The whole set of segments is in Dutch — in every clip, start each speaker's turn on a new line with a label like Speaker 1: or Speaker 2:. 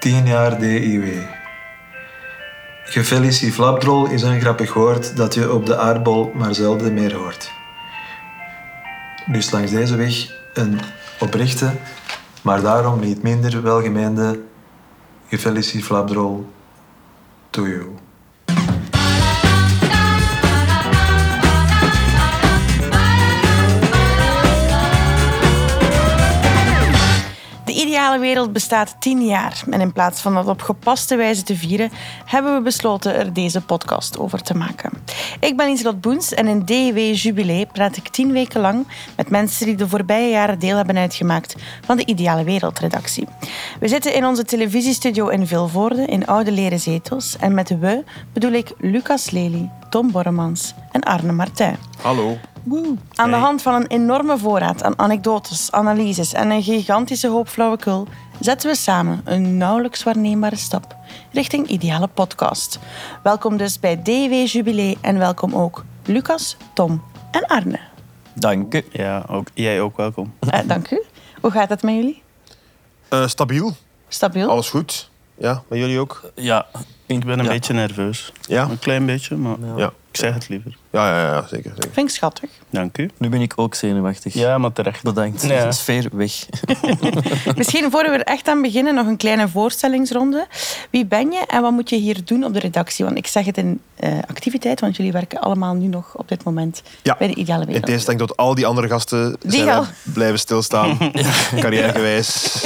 Speaker 1: 10 jaar DIW. Gefeliciflapdrol is een grappig woord dat je op de aardbol maar zelden meer hoort. Dus langs deze weg een oprechte, maar daarom niet minder welgemeende gefeliciflapdrol to you.
Speaker 2: De ideale wereld bestaat 10 jaar. En in plaats van dat op gepaste wijze te vieren, hebben we besloten er deze podcast over te maken. Ik ben Lieselot Boens en in DW Jubilee praat ik 10 weken lang met mensen die de voorbije jaren deel hebben uitgemaakt van de Ideale Wereldredactie. We zitten in onze televisiestudio in Vilvoorde in oude leren zetels. En met we bedoel ik Lucas Lely, Tom Borremans en Arne Martijn.
Speaker 3: Hallo.
Speaker 2: Aan de hand van een enorme voorraad aan anekdotes, analyses en een gigantische hoop flauwekul zetten we samen een nauwelijks waarneembare stap richting ideale podcast. Welkom dus bij DW Jubilee en welkom ook Lucas, Tom en Arne.
Speaker 4: Dank u.
Speaker 3: Ja, ook, jij ook welkom.
Speaker 2: Eh, dank u. Hoe gaat het met jullie?
Speaker 5: Eh, stabiel,
Speaker 2: Stabiel?
Speaker 5: alles goed. Ja, met jullie ook?
Speaker 4: Ja,
Speaker 3: Ik ben een
Speaker 4: Ja.
Speaker 3: beetje nerveus.
Speaker 5: Ja,
Speaker 3: Een klein beetje, maar
Speaker 5: Ja.
Speaker 3: ik zeg het liever.
Speaker 5: ja, ja, ja zeker. zeker.
Speaker 2: Vind ik schattig.
Speaker 3: Dank u.
Speaker 4: nu ben ik ook zenuwachtig.
Speaker 3: Ja, maar terecht.
Speaker 4: Bedankt.
Speaker 3: Ja.
Speaker 4: De sfeer weg.
Speaker 2: Misschien voor we er echt aan beginnen, nog een kleine voorstellingsronde. Wie ben je en wat moet je hier doen op de redactie? Want ik zeg het in eh, activiteit, want jullie werken allemaal nu nog op dit moment
Speaker 5: Ja.
Speaker 2: bij de Ideale
Speaker 5: In
Speaker 2: Wereld.
Speaker 5: tegenstelling tot al die andere gasten
Speaker 2: Die
Speaker 5: zijn
Speaker 2: al-
Speaker 5: wij blijven stilstaan, carrièregewijs.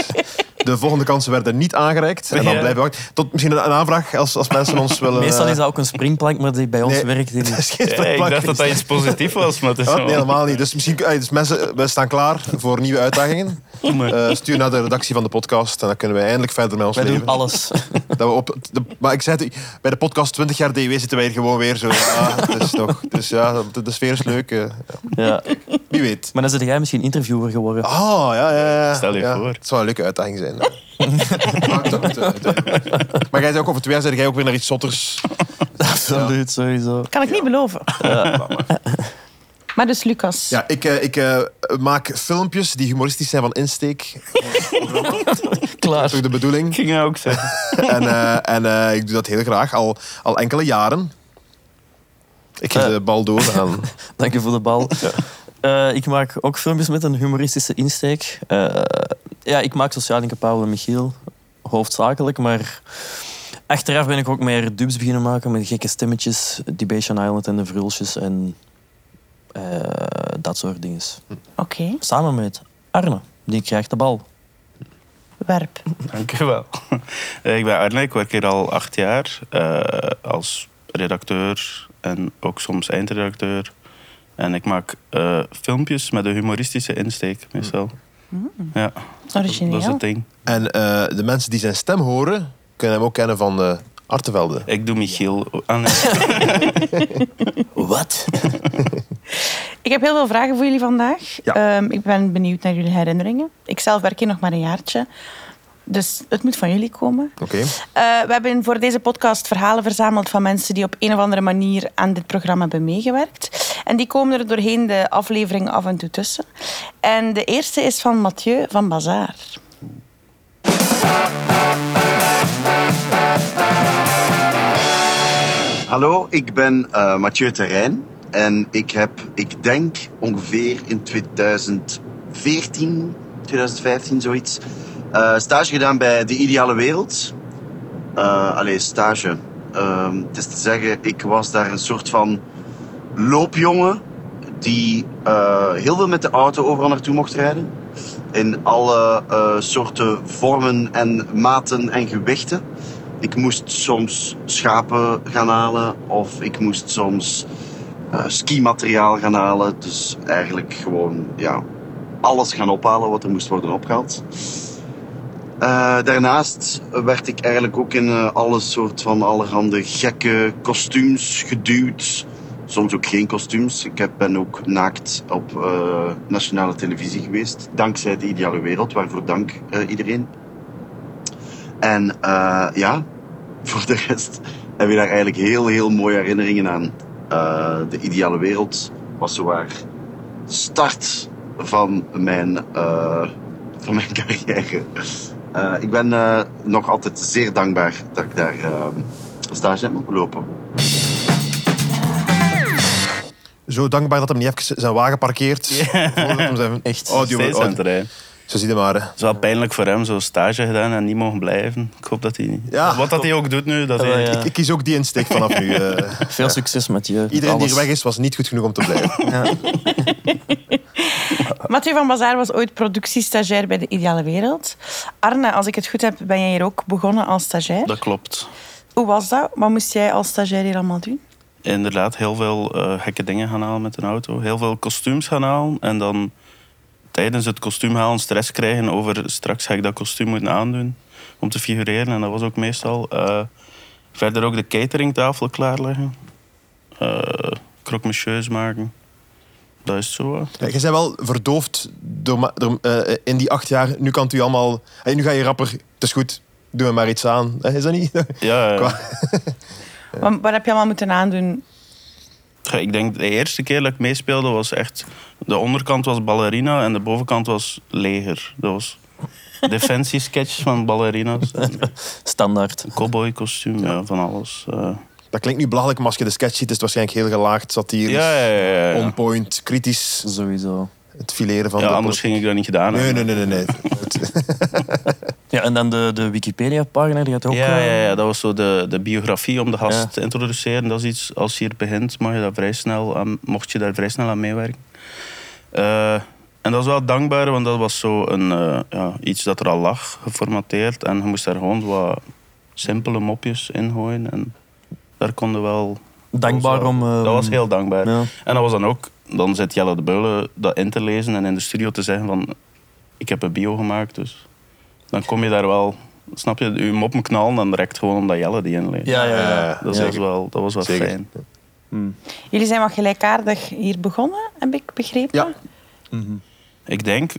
Speaker 5: De volgende kansen werden niet aangereikt. En dan
Speaker 3: Ja.
Speaker 5: blijven we wachten. Tot misschien een een aanvraag als, als mensen ons willen...
Speaker 4: Meestal
Speaker 5: eh,
Speaker 4: is dat ook een springplank, maar die bij ons
Speaker 5: Nee.
Speaker 4: werkt die
Speaker 5: dat
Speaker 4: niet.
Speaker 5: is geen
Speaker 3: Ja, Eh, ik
Speaker 5: plak.
Speaker 3: dacht dat dat iets positiefs was, maar het is
Speaker 5: Wat?
Speaker 3: wel-
Speaker 5: Nee, helemaal niet. Dus, misschien, eh, dus mensen, wij staan klaar voor nieuwe uitdagingen.
Speaker 3: Doe maar.
Speaker 5: Eh, stuur naar de redactie van de podcast en dan kunnen wij eindelijk verder met ons
Speaker 4: Wij doen
Speaker 5: leven.
Speaker 4: alles.
Speaker 5: Dat we op de- maar ik zei het, bij de podcast 20 jaar DW zitten wij hier gewoon weer zo. Ja, het is toch, dus ja, de, de sfeer is leuk. eh,
Speaker 4: Ja.
Speaker 5: Wie weet.
Speaker 4: Maar dan zit jij misschien interviewer geworden.
Speaker 5: Ah, ja, ja, ja.
Speaker 3: Stel je
Speaker 5: Ja,
Speaker 3: voor.
Speaker 5: Het zou een leuke uitdaging zijn. hè. Ah, Maar het- het- het- het- maar jij zei ook over twee jaar, zei jij ook weer naar iets zotters.
Speaker 4: Absoluut, sowieso.
Speaker 2: Kan ik niet beloven. Maar dus Lucas,
Speaker 5: Ja, ik, eh, ik eh, maak filmpjes die humoristisch zijn van insteek.
Speaker 4: Klaar.
Speaker 5: Toch de bedoeling.
Speaker 3: Ik ging dat ook zeggen.
Speaker 5: En, eh, en eh, ik doe dat heel graag, al, al enkele jaren. Ik geef
Speaker 4: Eh.
Speaker 5: de bal door aan...
Speaker 4: Dank je voor de bal. Eh, ik maak ook filmpjes met een humoristische insteek. Eh, ja, ik maak zoals Janinke Paul en Michiel. Hoofdzakelijk, maar achteraf ben ik ook meer dubs beginnen maken met gekke stemmetjes. Debation Island en de Vrulsjes en eh, dat soort dingen.
Speaker 2: oké,
Speaker 4: Samen met Arne, die krijgt de bal.
Speaker 2: werp.
Speaker 3: Dank u wel. Eh, Ik ben Arne, ik werk hier al acht jaar eh, als redacteur en ook soms eindredacteur. En ik maak eh, filmpjes met een humoristische insteek, meestal. Ja, dat, dat is
Speaker 2: Origineel.
Speaker 3: het ding.
Speaker 5: En eh, de mensen die zijn stem horen, kunnen hem ook kennen van eh Artevelde.
Speaker 3: Ik doe Michiel. Ah, nee.
Speaker 4: Wat?
Speaker 2: Ik heb heel veel vragen voor jullie vandaag.
Speaker 5: Ja.
Speaker 2: Ehm, ik ben benieuwd naar jullie herinneringen. Ik zelf werk hier nog maar een jaartje. Dus het moet van jullie komen.
Speaker 5: Oké.
Speaker 2: Eh, we hebben voor deze podcast verhalen verzameld van mensen die op een of andere manier aan dit programma hebben meegewerkt. En die komen er doorheen de aflevering af en toe tussen. En de eerste is van Mathieu van Bazaar.
Speaker 6: Hallo, ik ben eh, Mathieu Terrein en ik heb, ik denk ongeveer in 2014, 2015 zoiets, eh, stage gedaan bij De Ideale Wereld. Eh allee, stage. Ehm, het is te zeggen, ik was daar een soort van loopjongen die eh, heel veel met de auto overal naartoe mocht rijden. In alle eh, soorten vormen en maten en gewichten. Ik moest soms schapen gaan halen of ik moest soms eh, skimateriaal gaan halen. Dus eigenlijk gewoon ja, alles gaan ophalen wat er moest worden opgehaald. Eh, daarnaast werd ik eigenlijk ook in eh, alle soort van allerhande gekke kostuums geduwd. Soms ook geen kostuums. Ik heb- ben ook naakt op eh, nationale televisie geweest. Dankzij de ideale wereld, waarvoor dank eh, iedereen. En eh, ja, voor de rest heb je daar eigenlijk heel, heel mooie herinneringen aan. Eh, de ideale wereld was zowaar de start van mijn, eh, van mijn carrière. Eh, ik ben eh, nog altijd zeer dankbaar dat ik daar eh, stage heb mogen lopen.
Speaker 5: Zo dankbaar dat hij niet even zijn wagen parkeert. Voordat hem zijn
Speaker 4: Echt.
Speaker 5: Audio,
Speaker 3: Steeds aan het
Speaker 5: audio.
Speaker 3: rijden.
Speaker 5: Zo zie je maar. hè.
Speaker 3: Het is wel pijnlijk voor hem, zo'n stage gedaan en niet mogen blijven. Ik hoop dat hij niet...
Speaker 5: Ja.
Speaker 3: Wat dat hij ook doet nu, dat
Speaker 4: Ja,
Speaker 3: hij...
Speaker 4: ja.
Speaker 5: Ik, ik kies ook die insteek vanaf nu. eh.
Speaker 4: Veel succes met je. met
Speaker 5: Iedereen die
Speaker 4: alles.
Speaker 5: hier weg is, was niet goed genoeg om te blijven.
Speaker 2: Mathieu van Bazaar was ooit productiestagiair bij De Ideale Wereld. Arne, als ik het goed heb, ben jij hier ook begonnen als stagiair.
Speaker 3: Dat klopt.
Speaker 2: Hoe was dat? Wat moest jij als stagiair hier allemaal doen?
Speaker 3: Inderdaad, heel veel eh, gekke dingen gaan halen met een auto. Heel veel kostuums gaan halen. En dan tijdens het kostuum halen stress krijgen over... Straks ga ik dat kostuum moeten aandoen om te figureren. En dat was ook meestal... eh, verder ook de cateringtafel klaarleggen. Eh croque monsieur's maken. Dat is zo. hè.
Speaker 5: Ja, je bent wel verdoofd door, ma- door, eh, in die acht jaar. Nu kan het u allemaal... Hey, nu ga je rapper. Het is goed. Doe me maar iets aan. Hè, Is dat niet?
Speaker 3: Ja, ja.
Speaker 5: Qua-
Speaker 2: Wat, wat heb je allemaal moeten aandoen?
Speaker 3: Ja, Ik denk de eerste keer dat ik meespeelde was echt... De onderkant was ballerina en de bovenkant was leger. Dat was defensiesketch van ballerina's. en
Speaker 4: Standaard.
Speaker 3: Cowboy kostuum, ja, van alles. eh.
Speaker 5: Dat klinkt nu belachelijk, maar als je de sketch ziet, is het waarschijnlijk heel gelaagd, satirisch,
Speaker 3: ja, ja, ja. ja, ja.
Speaker 5: on point, kritisch.
Speaker 4: Sowieso.
Speaker 5: Het fileren van
Speaker 3: Ja,
Speaker 5: de...
Speaker 3: anders ging ik dat niet gedaan
Speaker 5: Nee,
Speaker 3: hebben.
Speaker 5: nee, nee, nee. nee.
Speaker 4: Ja, en dan de, de Wikipedia-pagina, die had ook...
Speaker 3: Ja,
Speaker 4: eh,
Speaker 3: ja, ja, dat was zo de, de biografie om de gast
Speaker 4: Ja.
Speaker 3: te introduceren. Dat is iets, als je hier begint, mag je dat vrij snel aan, mocht je daar vrij snel aan meewerken. Eh, en dat is wel dankbaar, want dat was zo een, eh, ja, iets dat er al lag, geformateerd. En je moest daar gewoon zo wat simpele mopjes in gooien. En daar konden wel...
Speaker 4: Dankbaar
Speaker 3: dat was
Speaker 4: om...
Speaker 3: wel-
Speaker 4: eh,
Speaker 3: dat was heel dankbaar.
Speaker 4: Ja.
Speaker 3: En dat was dan ook... Dan zit Jelle de Beulen dat in te lezen en in de studio te zeggen van... Ik heb een bio gemaakt, dus... Dan kom je daar wel... Snap je? Je moppen knallen dan direct gewoon omdat Jelle die inleest.
Speaker 4: Ja, ja, ja.
Speaker 5: Ja,
Speaker 3: Dat,
Speaker 4: ja.
Speaker 3: was wel, dat was wel
Speaker 5: Eh, Zeker.
Speaker 3: fijn.
Speaker 2: Jullie zijn wat gelijkaardig hier begonnen, heb ik begrepen.
Speaker 5: Ja.
Speaker 3: Ik denk,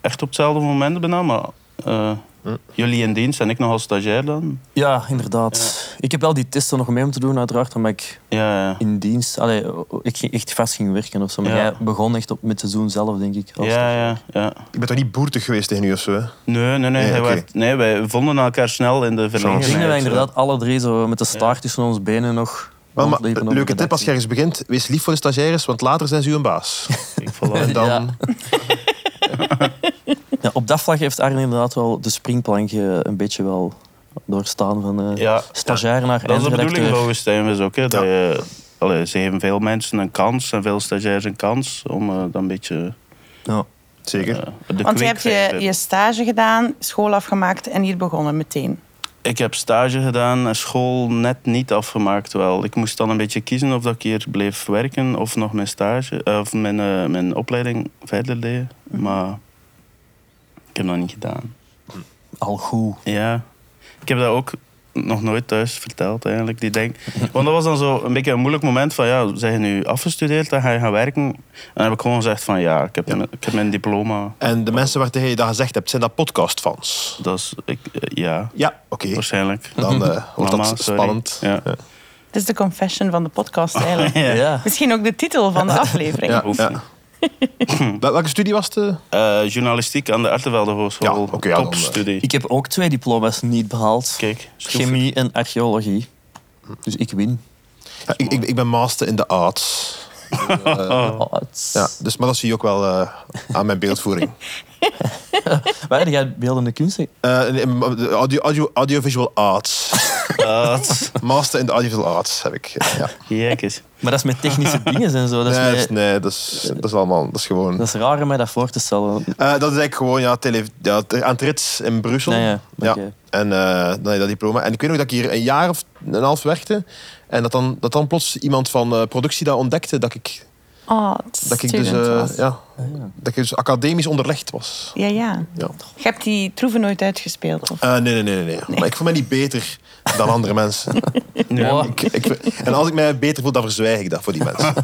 Speaker 3: echt op hetzelfde moment bijna, maar... eh,
Speaker 4: Hm.
Speaker 3: Jullie in dienst en ik nog als stagiair dan.
Speaker 4: Ja, inderdaad. Ik heb wel die testen nog mee om te doen, uiteraard, omdat ik
Speaker 3: Ja, ja.
Speaker 4: in dienst... Allee, ik ging echt vast ging werken of zo. Maar
Speaker 3: Ja.
Speaker 4: jij begon echt op, met het seizoen zelf, denk ik. als
Speaker 3: Ja, ja, ja.
Speaker 5: Ik ben toch niet boertig geweest tegen u of zo? Hè?
Speaker 3: Nee, nee, nee.
Speaker 5: Nee,
Speaker 3: hij
Speaker 5: oké.
Speaker 3: werd- nee wij vonden elkaar snel in de
Speaker 4: Ik
Speaker 3: verlegenheid.
Speaker 4: denk dat wij inderdaad alle drie zo met de staart tussen ons benen nog...
Speaker 5: Maar, maar,
Speaker 4: rondliepen op de
Speaker 5: leuke tip als je
Speaker 4: redactie.
Speaker 5: ergens begint. Wees lief voor de stagiaires, want later zijn ze uw baas.
Speaker 3: Ik vond dat-
Speaker 5: En dan...
Speaker 4: Ja. Ja, op dat vlak heeft Arne inderdaad wel de springplankje een beetje wel doorstaan van eh,
Speaker 3: Ja.
Speaker 4: stagiair naar
Speaker 3: Dat is de
Speaker 4: eindredacteur.
Speaker 3: bedoeling van Westijnvis ook. Hè? Dat je, allee, ze geven veel mensen een kans en veel stagiairs een kans om eh, dan een beetje
Speaker 4: Ja.
Speaker 5: Zeker.
Speaker 3: eh, de
Speaker 2: Want je
Speaker 3: kweek
Speaker 2: hebt je,
Speaker 3: verder.
Speaker 2: je stage gedaan, school afgemaakt en hier begonnen meteen.
Speaker 3: Ik heb stage gedaan en school net niet afgemaakt wel. Ik moest dan een beetje kiezen of dat ik hier bleef werken of nog mijn stage eh, of mijn, eh, mijn opleiding verder deed. Maar ik heb dat niet gedaan.
Speaker 4: Al goed.
Speaker 3: Ja, ik heb dat ook nog nooit thuis verteld eigenlijk. Die denk, want dat was dan zo een beetje een moeilijk moment van ja, zijn je nu afgestudeerd, dan ga je gaan werken. En dan heb ik gewoon gezegd van ja, ik heb, mijn- ik heb mijn diploma.
Speaker 5: En de mensen waar tegen je dat gezegd hebt, zijn dat podcastfans?
Speaker 3: Dat is, ik, eh, ja,
Speaker 5: Ja, oké.
Speaker 3: waarschijnlijk.
Speaker 5: Dan eh, wordt
Speaker 3: Mama,
Speaker 5: dat
Speaker 3: sorry.
Speaker 5: spannend.
Speaker 3: Ja.
Speaker 2: Het is de confession van de podcast eigenlijk.
Speaker 3: Ja.
Speaker 4: Ja.
Speaker 2: Misschien ook de titel van de aflevering.
Speaker 5: Ja,
Speaker 3: Hoeft
Speaker 5: ja. Wel- Welke studie was het? eh?
Speaker 3: Eh, journalistiek aan de Artevelde Hogeschool.
Speaker 5: Ja, oké, ja, dan, eh,
Speaker 3: Topstudie.
Speaker 4: Ik heb ook twee diploma's niet behaald.
Speaker 3: Kijk, stoef.
Speaker 4: Chemie en archeologie. Dus ik win.
Speaker 5: Ja, ik, ik, ik ben master in de arts.
Speaker 4: Oh, het-
Speaker 5: Ja, dus, maar dat zie je ook wel eh, aan mijn beeldvoering.
Speaker 4: Waar heb jij beeldende kunst?
Speaker 5: Eh, nee, maar de audio, audio, audiovisual arts.
Speaker 3: Dat.
Speaker 5: Master in de audiovisual arts heb ik. eh, ja.
Speaker 3: Kijk eens.
Speaker 4: Maar dat is met technische dingen en zo. Dat is,
Speaker 5: nee, dat
Speaker 4: met-
Speaker 5: is- nee, dat is, dat is allemaal. Dat is gewoon.
Speaker 4: dat is raar om mij dat voor te stellen.
Speaker 5: Eh, dat is eigenlijk gewoon ja, tele, ja, te- aan het rits in Brussel.
Speaker 4: Nee, ja, oké.
Speaker 5: En eh, dan heb je dat diploma. En ik weet nog dat ik hier een jaar of een half werkte. En dat dan, dat dan plots iemand van eh, productie dat ontdekte. Dat ik,
Speaker 2: Oh, het
Speaker 5: dat ik, dus,
Speaker 2: student
Speaker 5: eh,
Speaker 2: was.
Speaker 5: ja, dat ik dus academisch onderlegd was.
Speaker 2: Ja, ja.
Speaker 5: Ja.
Speaker 2: Je hebt die troeven nooit uitgespeeld. Of?
Speaker 5: Eh, nee, nee, nee, nee, nee. Maar ik voel me niet beter dan andere mensen.
Speaker 4: Oh,
Speaker 5: Ik, ik, en als ik mij beter voel, dan verzwijg ik dat voor die mensen.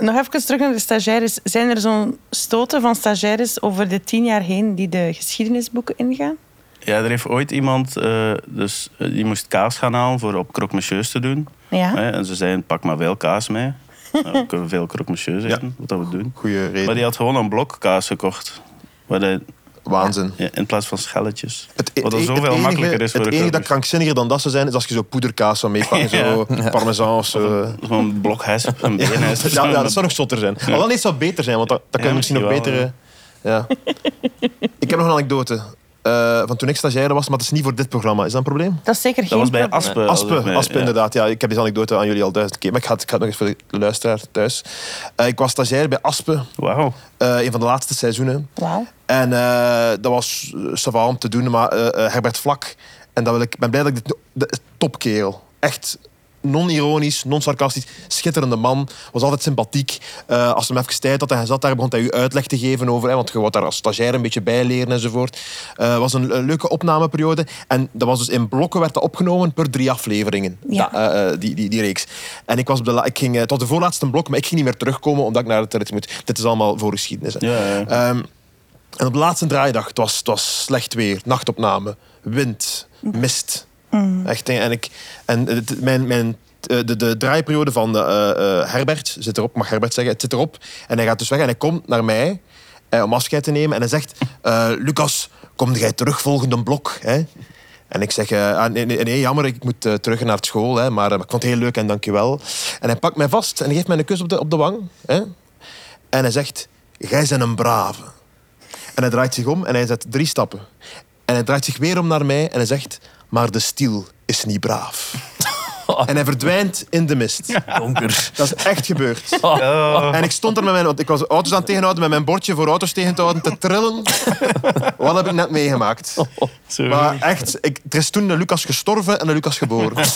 Speaker 2: Nog even terug naar de stagiaires. Zijn er zo'n stoten van stagiaires over de tien jaar heen die de geschiedenisboeken ingaan?
Speaker 3: Ja, er heeft ooit iemand, eh, dus, eh, die moest kaas gaan halen voor op croque monsieur's te doen.
Speaker 2: Ja.
Speaker 3: Hè, En ze zeiden, pak maar veel kaas mee. Nou, we kunnen veel croque monsieur's eten, wat dat we doen.
Speaker 5: Goeie reden.
Speaker 3: Maar die had gewoon een blok kaas gekocht. Waar hij
Speaker 5: Waanzin.
Speaker 3: Ja, in plaats van schelletjes.
Speaker 5: Het, e-
Speaker 3: Wat al
Speaker 5: e-
Speaker 3: zoveel
Speaker 5: het enige-
Speaker 3: makkelijker is voor
Speaker 5: Het
Speaker 3: de
Speaker 5: enige dat
Speaker 3: keuken.
Speaker 5: krankzinniger dan dat zou zijn, is als je zo poederkaas zou meepakken. Zo parmezaan of zo. eh.
Speaker 3: Gewoon een blok hesp, een
Speaker 5: Ja,
Speaker 3: beenhesp.
Speaker 5: ja, ja, dat zou nog zotter zijn. Maar wel niet zou beter zijn, want dat, dat kan
Speaker 3: Ja,
Speaker 5: je misschien nog
Speaker 3: misschien
Speaker 5: beter...
Speaker 3: wel,
Speaker 5: eh, ja. ik heb nog een anekdote. eh, van toen ik stagiaire was, maar dat is niet voor dit programma. Is dat een probleem?
Speaker 2: Dat is zeker
Speaker 3: Dat
Speaker 2: geen
Speaker 3: was bij
Speaker 2: probleem.
Speaker 5: Eh,
Speaker 3: Aspen. volgens
Speaker 5: Aspen,
Speaker 3: mij,
Speaker 5: Aspen
Speaker 3: ja.
Speaker 5: inderdaad. Ja, ik heb deze anekdote aan jullie al duizend keer. Maar ik ga het, ik ga het nog eens voor de luisteraar thuis. Eh, ik was stagiair bij Aspen,
Speaker 3: Wauw.
Speaker 5: eh, een van de laatste seizoenen.
Speaker 2: Wauw.
Speaker 5: En eh, dat was eh, ça va om te doen, maar eh, eh, Herbert Vlak. En dat wil ik, ik ben blij dat ik dit... de- topkerel. Echt non-ironisch, non-sarcastisch. Schitterende man. Was altijd sympathiek. Eh, als hij hem even tijd had en hij zat daar, begon hij u uitleg te geven over... Hè, want je wordt daar als stagiair een beetje bij leren enzovoort. Het was een, een leuke opnameperiode. En dat was dus in blokken werd dat opgenomen per drie afleveringen.
Speaker 2: Ja.
Speaker 5: Da- eh, eh, die, die, die reeks. En ik, was op de la- ik ging eh, tot de voorlaatste blok, maar ik ging niet meer terugkomen omdat ik naar het rit moet. Dit is allemaal voorgeschiedenis. hè.
Speaker 3: Ja, ja.
Speaker 5: Ehm, en op de laatste draaidag, het was, het was slecht weer, nachtopname, wind, mist. Echt, en ik, en het- mijn, mijn, eh, de, de draaiperiode van eh, eh, Herbert zit erop, mag Herbert zeggen, het zit erop. En hij gaat dus weg en hij komt naar mij eh, om afscheid te nemen. En hij zegt, eh, Lucas, kom jij terug volgende blok? Hè? En ik zeg, eh, ah, nee, nee, nee, jammer, ik moet eh, terug naar school. Hè, maar eh, ik vond het heel leuk en dankjewel. En hij pakt mij vast en hij geeft mij een kus op de, op de wang. Hè? En hij zegt, jij bent een brave. En hij draait zich om en hij zet drie stappen. En hij draait zich weer om naar mij en hij zegt... Maar de stiel is niet braaf. En hij verdwijnt in de mist.
Speaker 4: Donker.
Speaker 5: Dat is echt gebeurd.
Speaker 3: Oh.
Speaker 5: En ik stond er met mijn... Want ik was auto's aan het tegenhouden, met mijn bordje voor auto's tegen te houden, te trillen. Wat heb ik net meegemaakt?
Speaker 3: Zo.
Speaker 5: Maar echt, ik, er is toen de Lucas gestorven en de Lucas geboren.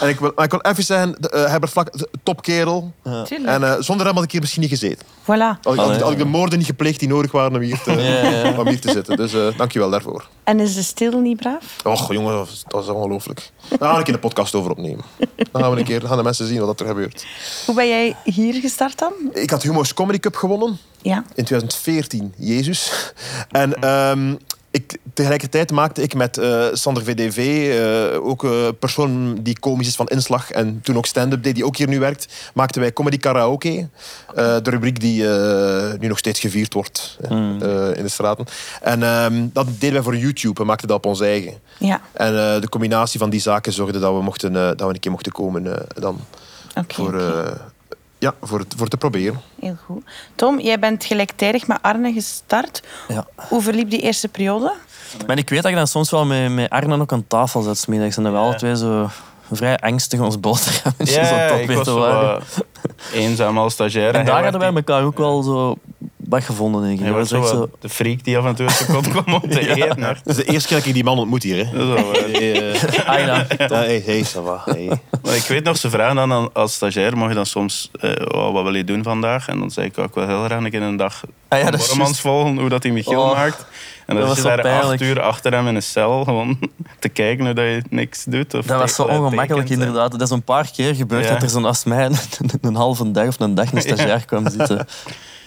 Speaker 5: En ik wil, maar ik wil even zeggen, de, eh, Herbert Vlak, de- topkerel.
Speaker 2: Tuurlijk.
Speaker 5: En eh, zonder hem had ik hier misschien niet gezeten.
Speaker 2: Voilà.
Speaker 5: Had ik, had ik- had ik de
Speaker 4: Allee.
Speaker 5: moorden niet gepleegd die nodig waren om hier te,
Speaker 4: ja, ja.
Speaker 5: Om hier te zitten. Dus eh dankjewel daarvoor.
Speaker 2: En is de stil niet braaf?
Speaker 5: Och, jongen, dat is- dat is ongelooflijk. Daar gaan we een keer de podcast over opnemen. Dan gaan we een keer gaan de mensen zien wat er gebeurt.
Speaker 2: Hoe ben jij hier gestart dan?
Speaker 5: Ik had Humo's Comedy Cup gewonnen
Speaker 2: Ja.
Speaker 5: in 2014. Jezus. En ehm, ik, tegelijkertijd maakte ik met eh, Sander VDV, eh, ook een persoon die komisch is van inslag en toen ook stand-up deed, die ook hier nu werkt, maakten wij Comedy Karaoke. eh, de rubriek die eh, nu nog steeds gevierd wordt eh,
Speaker 2: Hmm.
Speaker 5: eh, in de straten. En ehm, dat deden wij voor YouTube en maakten dat op ons eigen.
Speaker 2: Ja,
Speaker 5: En eh, de combinatie van die zaken zorgde dat we, mochten, eh, dat we een keer mochten komen eh, dan
Speaker 2: oké.
Speaker 5: voor,
Speaker 2: oké.
Speaker 5: eh, ja, voor, het- voor te proberen.
Speaker 2: Heel goed. Tom, jij bent gelijktijdig met Arne gestart.
Speaker 4: Ja.
Speaker 2: Hoe verliep die eerste periode?
Speaker 4: Maar ik weet dat je dan soms wel met, met Arne ook aan tafel zat 's middags En dat we alle twee zo vrij angstig ons boterhammetjes aan
Speaker 3: Ja,
Speaker 4: het
Speaker 3: ik was
Speaker 4: opeten
Speaker 3: zo
Speaker 4: waren.
Speaker 3: wat eenzaam als stagiair.
Speaker 4: en
Speaker 3: hij
Speaker 4: daar
Speaker 3: werd
Speaker 4: hadden wij
Speaker 3: die-
Speaker 4: elkaar ook wel zo wat gevonden, denk ik.
Speaker 3: Hij
Speaker 4: Dat
Speaker 3: was
Speaker 4: was echt
Speaker 3: zo
Speaker 4: zo...
Speaker 3: wat de freak die af en toe uit zijn kop kwam om te eten. hè.
Speaker 5: Dat is de eerste keer dat ik die man ontmoet hier. Hè?
Speaker 3: Zo, eh,
Speaker 4: Ah, ja.
Speaker 5: hey, hey, ça va. Hey.
Speaker 3: Maar ik weet nog, ze vragen dan aan- als stagiair, mag je dan soms, eh, oh, wat wil je doen vandaag? En dan zei ik, oh, ik wil heel graag een keer een dag
Speaker 4: Ah ja, dat is
Speaker 3: Bormans
Speaker 4: juist.
Speaker 3: volgen, hoe dat hij Michiel
Speaker 4: Oh,
Speaker 3: maakt. En
Speaker 4: dat
Speaker 3: dan
Speaker 4: was
Speaker 3: zit je
Speaker 4: zo
Speaker 3: daar acht
Speaker 4: pijnlijk.
Speaker 3: uur achter hem in een cel, gewoon te kijken hoe dat je niks doet. Of
Speaker 4: Dat was zo
Speaker 3: tekent,
Speaker 4: ongemakkelijk,
Speaker 3: tekent.
Speaker 4: inderdaad. Dat is een paar keer gebeurd
Speaker 3: Ja.
Speaker 4: dat er zo'n als mij een, een halve dag of een dag een stagiair kwam zitten.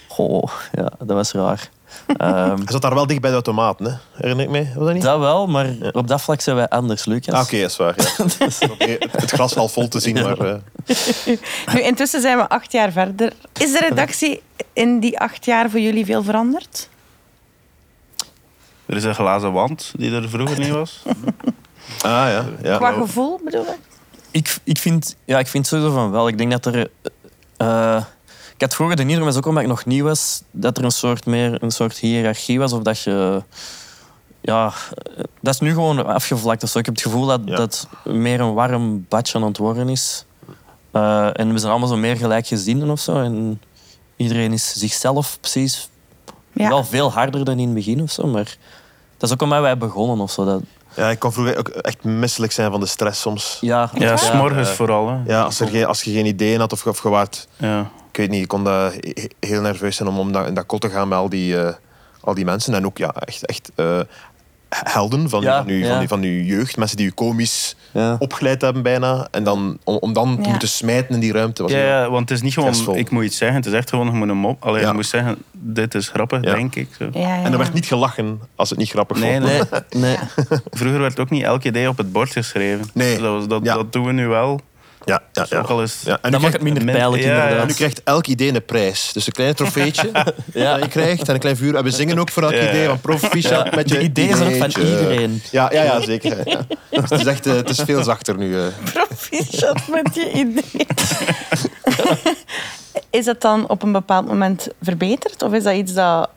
Speaker 4: Goh, ja, dat was raar. Ehm,
Speaker 5: Hij zat daar wel dicht bij de automaten, hè? herinner ik mij? Was dat niet?
Speaker 4: dat wel, maar op dat vlak zijn wij anders, Lucas.
Speaker 5: Ah, Oké, dat is waar. Ja. Oké, het glas half vol te zien, maar... eh,
Speaker 2: Nu, intussen zijn we acht jaar verder. Is de redactie in die acht jaar voor jullie veel veranderd?
Speaker 3: Er is een glazen wand die er vroeger niet was.
Speaker 5: Ah, ja. ja
Speaker 2: Qua
Speaker 5: nou,
Speaker 2: gevoel bedoel ik?
Speaker 4: Ik, ik, vind, ja, ik vind sowieso van wel. Ik denk dat er... eh, ik had vroeger de indruk, maar dat is ook omdat ik nog nieuw was, dat er een soort meer een soort hiërarchie was. Of dat je... Ja, eh, dat is nu gewoon afgevlakt. of zo. ik heb het gevoel dat
Speaker 5: Ja.
Speaker 4: dat meer een warm badje aan het worden is. Eh, en we zijn allemaal zo meer gelijkgezinden of zo. En iedereen is zichzelf precies
Speaker 2: Ja.
Speaker 4: wel veel harder dan in het begin of zo. Maar dat is ook omdat wij begonnen of zo. Dat,
Speaker 5: ja, ik kon vroeger ook echt misselijk zijn van de stress soms.
Speaker 4: ja,
Speaker 3: Ja, smorgens
Speaker 5: Eh,
Speaker 3: vooral. Hè.
Speaker 5: Ja, als, er geen, als je geen ideeën had of, of je waart
Speaker 3: Ja.
Speaker 5: ik weet niet, ik kon dat he- heel nerveus zijn om, om dat, in dat kot te gaan met al die, eh, al die mensen. En ook ja, echt, echt eh, helden van,
Speaker 4: Ja,
Speaker 5: van, uw, van,
Speaker 4: ja.
Speaker 5: uw- van uw jeugd. Mensen die u komisch
Speaker 4: Ja.
Speaker 5: opgeleid hebben bijna. En dan, om, om dan
Speaker 2: Ja.
Speaker 5: te moeten smijten in die ruimte. Was
Speaker 3: Ja,
Speaker 5: heel-
Speaker 3: ja, want het is niet gewoon,
Speaker 5: Stressvol.
Speaker 3: ik moet iets zeggen. Het is echt gewoon, je moet een mop. Alleen
Speaker 5: Ja.
Speaker 3: je moet zeggen, dit is grappig,
Speaker 5: Ja.
Speaker 3: denk ik. Zo.
Speaker 2: Ja, ja,
Speaker 5: En
Speaker 2: ja.
Speaker 5: er werd niet gelachen als het niet grappig
Speaker 3: Nee,
Speaker 5: vond.
Speaker 3: nee.
Speaker 4: Nee.
Speaker 3: Vroeger werd ook niet elk idee op het bord geschreven. Dus
Speaker 5: Nee.
Speaker 3: Dat, was, dat,
Speaker 5: Ja.
Speaker 3: dat doen we nu wel.
Speaker 5: Ja, ja,
Speaker 3: is
Speaker 5: ja.
Speaker 3: ook al eens-
Speaker 5: Ja, en
Speaker 4: dan
Speaker 5: nu
Speaker 4: mag
Speaker 5: krijgt-
Speaker 4: het minder
Speaker 3: men-
Speaker 4: pijnlijk
Speaker 3: ja, ja.
Speaker 5: En
Speaker 4: inderdaad.
Speaker 5: nu krijgt elk idee een prijs. Dus een klein trofeetje dat je krijgt en een klein vuur. En we zingen ook voor elk
Speaker 3: Ja.
Speaker 5: idee. Van proficiat
Speaker 4: Ja,
Speaker 5: met je
Speaker 4: de ideeën zijn ook van
Speaker 5: ideetje.
Speaker 4: iedereen.
Speaker 5: Ja, ja, ja zeker. hè, ja. Dus het, is echt, eh, het is veel zachter nu. eh.
Speaker 2: Proficiat met je idee. is dat dan op een bepaald moment verbeterd? Of is dat iets dat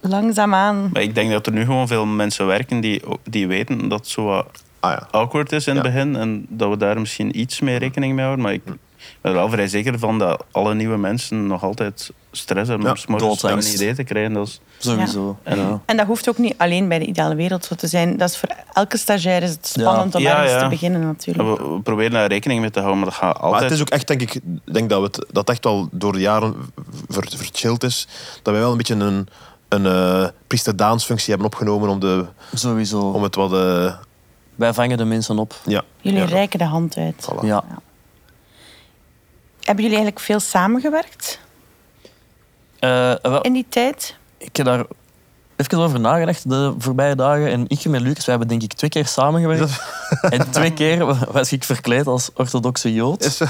Speaker 2: langzaamaan...
Speaker 3: Maar ik denk dat er nu gewoon veel mensen werken die, die weten dat het zo wat
Speaker 5: Ah ja.
Speaker 3: awkward is in het
Speaker 5: Ja.
Speaker 3: begin. En dat we daar misschien iets meer rekening mee houden. Maar ik ben er wel vrij zeker van dat alle nieuwe mensen nog altijd stress hebben
Speaker 5: Ja,
Speaker 3: om 's morgens een
Speaker 4: doodsangst.
Speaker 3: idee te krijgen. Dat is,
Speaker 4: Sowieso.
Speaker 3: en,
Speaker 4: Ja.
Speaker 2: En dat hoeft ook niet alleen bij de ideale wereld zo te zijn. Dat is voor elke stagiair is het spannend om
Speaker 3: Ja,
Speaker 2: ergens
Speaker 3: ja.
Speaker 2: te beginnen natuurlijk.
Speaker 3: we, we proberen daar rekening mee te houden, maar dat gaat altijd...
Speaker 5: Maar het is ook echt, denk ik, denk dat we het, dat echt wel door de jaren ver, verchilled is. Dat wij wel een beetje een, een eh, priesterdaansfunctie hebben opgenomen om, de,
Speaker 4: Sowieso.
Speaker 5: om het wat... eh,
Speaker 4: Wij vangen de mensen op.
Speaker 5: ja.
Speaker 2: Jullie
Speaker 5: ja.
Speaker 2: reiken de hand uit.
Speaker 5: Voilà.
Speaker 4: Ja.
Speaker 2: Hebben jullie eigenlijk veel samengewerkt
Speaker 4: Eh, wel,
Speaker 2: in die tijd?
Speaker 4: ik heb daar even over nagedacht de voorbije dagen. En ik met Lucas, wij hebben denk ik twee keer samengewerkt. En twee keer was ik verkleed als orthodoxe jood.
Speaker 5: Is, eh,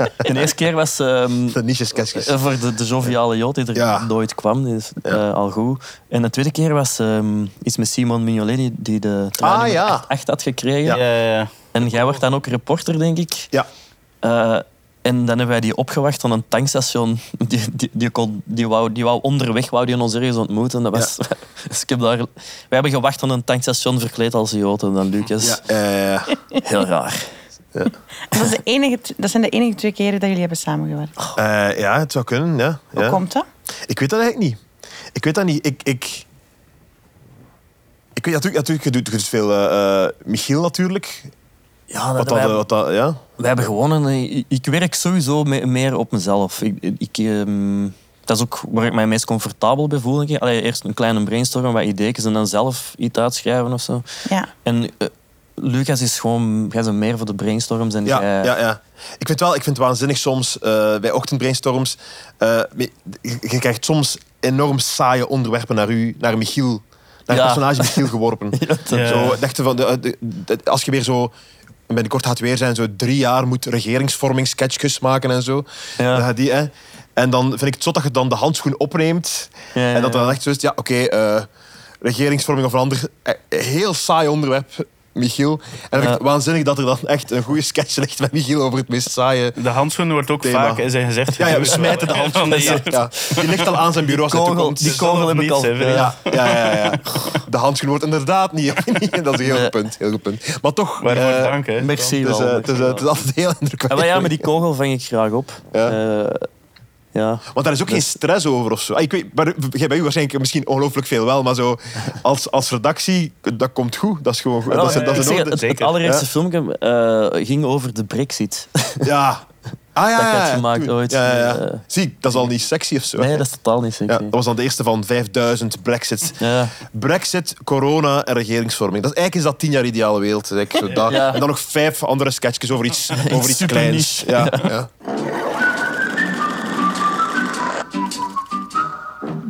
Speaker 4: De eerste keer was ehm,
Speaker 5: de niches keskes.
Speaker 4: eh, voor de, de joviale jood die er
Speaker 5: Ja.
Speaker 4: nooit kwam. Die is eh, al goed. En de tweede keer was ehm, iets met Simon Mignolet die, die de training
Speaker 5: Ah, ja.
Speaker 4: echt, echt had gekregen.
Speaker 3: Ja, ja, ja.
Speaker 4: En jij wordt dan ook reporter, denk ik.
Speaker 5: Ja.
Speaker 4: Eh, en dan hebben wij die opgewacht aan een tankstation. Die, die, die, kon, die, wou, die wou onderweg wou die ons ergens ontmoeten. Dat was, dus ik heb daar, wij hebben gewacht aan een tankstation verkleed als Jood en dan Lucas.
Speaker 5: Ja, eh,
Speaker 4: Heel raar.
Speaker 2: Dat, is de enige, dat zijn de enige twee keren dat jullie hebben samengewerkt.
Speaker 5: eh, ja, het zou kunnen, ja.
Speaker 2: Hoe
Speaker 5: ja.
Speaker 2: komt dat?
Speaker 5: Ik weet dat eigenlijk niet. Ik weet dat niet. Ik, ik, ik weet natuurlijk, natuurlijk je doet, je doet veel eh, eh, Michiel natuurlijk.
Speaker 4: Ja,
Speaker 5: Wat
Speaker 4: dat,
Speaker 5: dat,
Speaker 4: wij,
Speaker 5: eh, wat dat, ja.
Speaker 4: wij hebben gewonnen. Ik, ik werk sowieso me- meer op mezelf. Ik, ik, ehm, dat is ook waar ik mij meest comfortabel bij voel. denk ik. Allee, eerst een kleine brainstorm, wat ideetjes en dan zelf iets uitschrijven of zo.
Speaker 2: Ja.
Speaker 4: En eh, Lucas is gewoon, jij bent meer voor de brainstorms en eh,
Speaker 5: Ja,
Speaker 4: jij-
Speaker 5: ja, ja. Ik vind, wel, ik vind het waanzinnig soms eh, bij ochtendbrainstorms. eh, je- je krijgt soms enorm saaie onderwerpen naar, u, naar Michiel. Naar
Speaker 4: Ja.
Speaker 5: het personage Michiel geworpen.
Speaker 3: Ja.
Speaker 5: Zo, dachten van, de, de- de- als je weer zo binnenkort gaat weer zijn, zo drie jaar moet regeringsvorming sketchjes maken en zo.
Speaker 4: Ja.
Speaker 5: Dan gaat die, hè. En dan vind ik het zot dat je dan de handschoen opneemt.
Speaker 4: Ja, ja,
Speaker 5: en dat er dan
Speaker 4: ja.
Speaker 5: echt zo is, ja, oké, eh, regeringsvorming of een ander eh, heel saai onderwerp, Michiel. En dan vind ik het
Speaker 4: Ja.
Speaker 5: waanzinnig dat er dan echt een goede sketch ligt met Michiel over het meest saaie...
Speaker 3: De handschoen wordt ook
Speaker 5: Thema.
Speaker 3: vaak in zijn gezicht
Speaker 5: Ja, ja, we
Speaker 3: geduwd.
Speaker 5: smijten de
Speaker 3: Van
Speaker 5: handschoen.
Speaker 3: hier.
Speaker 5: Ja, die ligt al aan zijn bureau als hij
Speaker 4: kogel-
Speaker 5: toekomt.
Speaker 4: die
Speaker 5: Dus-
Speaker 4: kogel heb
Speaker 3: dat
Speaker 4: ik al.
Speaker 3: niet, hè,
Speaker 4: eh,
Speaker 5: ja, ja, ja, ja. De handschoen wordt inderdaad niet opgenieuwd. Dat is een heel
Speaker 4: Nee.
Speaker 5: goed punt. Heel goed punt. Maar toch...
Speaker 3: Waarvoor
Speaker 5: eh,
Speaker 3: dank, hè.
Speaker 4: merci
Speaker 5: het is,
Speaker 4: wel.
Speaker 5: eh, het, is, eh, het is altijd heel
Speaker 4: Ja,
Speaker 5: indrukwekkend.
Speaker 4: Ah, maar ja, met die kogel vang ik graag op.
Speaker 5: Ja.
Speaker 4: Eh, ja.
Speaker 5: Want daar is ook geen stress over of zo. Ah, Ik weet, maar, jij bij u waarschijnlijk misschien ongelooflijk veel wel, maar zo als, als redactie, dat komt goed. Dat is gewoon goed.
Speaker 4: Wel,
Speaker 5: dat is, dat
Speaker 4: Eh, ik
Speaker 5: is in
Speaker 4: zeg,
Speaker 5: orde.
Speaker 4: het, het
Speaker 3: zeker.
Speaker 4: allereerste filmpje eh, ging over de brexit.
Speaker 5: Ja. Ah ja,
Speaker 4: Dat ik had
Speaker 5: ja, ja,
Speaker 4: gemaakt
Speaker 5: toen.
Speaker 4: ooit.
Speaker 5: Ja, ja, ja.
Speaker 4: Eh,
Speaker 5: Zie, dat is al niet sexy of zo.
Speaker 4: Nee, dat is totaal niet
Speaker 5: ja,
Speaker 4: zeker.
Speaker 5: dat was dan de eerste van 5000 Brexits.
Speaker 4: Ja.
Speaker 5: Brexit, corona en regeringsvorming. Dat is, eigenlijk is dat tien jaar ideale wereld. zeg ik. Zo dat.
Speaker 4: Ja.
Speaker 5: En dan nog vijf andere sketchjes over iets, over iets
Speaker 4: super
Speaker 5: kleins. Ja, ja.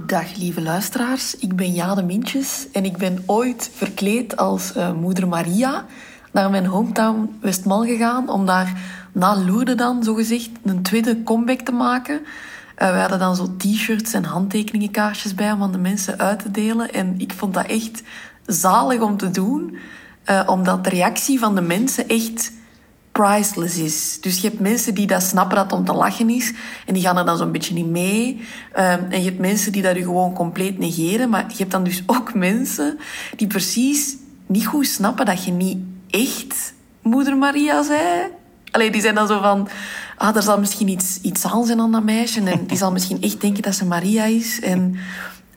Speaker 7: Dag lieve luisteraars, ik ben Jade Mintjes en ik ben ooit verkleed als eh, moeder Maria naar mijn hometown Westmal gegaan om daar na Lourdes dan zogezegd een tweede comeback te maken. Eh, we hadden dan zo t-shirts en handtekeningenkaartjes bij om aan de mensen uit te delen en ik vond dat echt zalig om te doen, eh, omdat de reactie van de mensen echt priceless is. Dus je hebt mensen die dat snappen dat het om te lachen is en die gaan er dan zo'n beetje niet mee. Ehm, en je hebt mensen die dat je gewoon compleet negeren, maar je hebt dan dus ook mensen die precies niet goed snappen dat je niet echt moeder Maria zei. Allee, die zijn dan zo van... Ah, er zal misschien iets, iets aan zijn aan dat meisje. En die zal misschien echt denken dat ze Maria is. En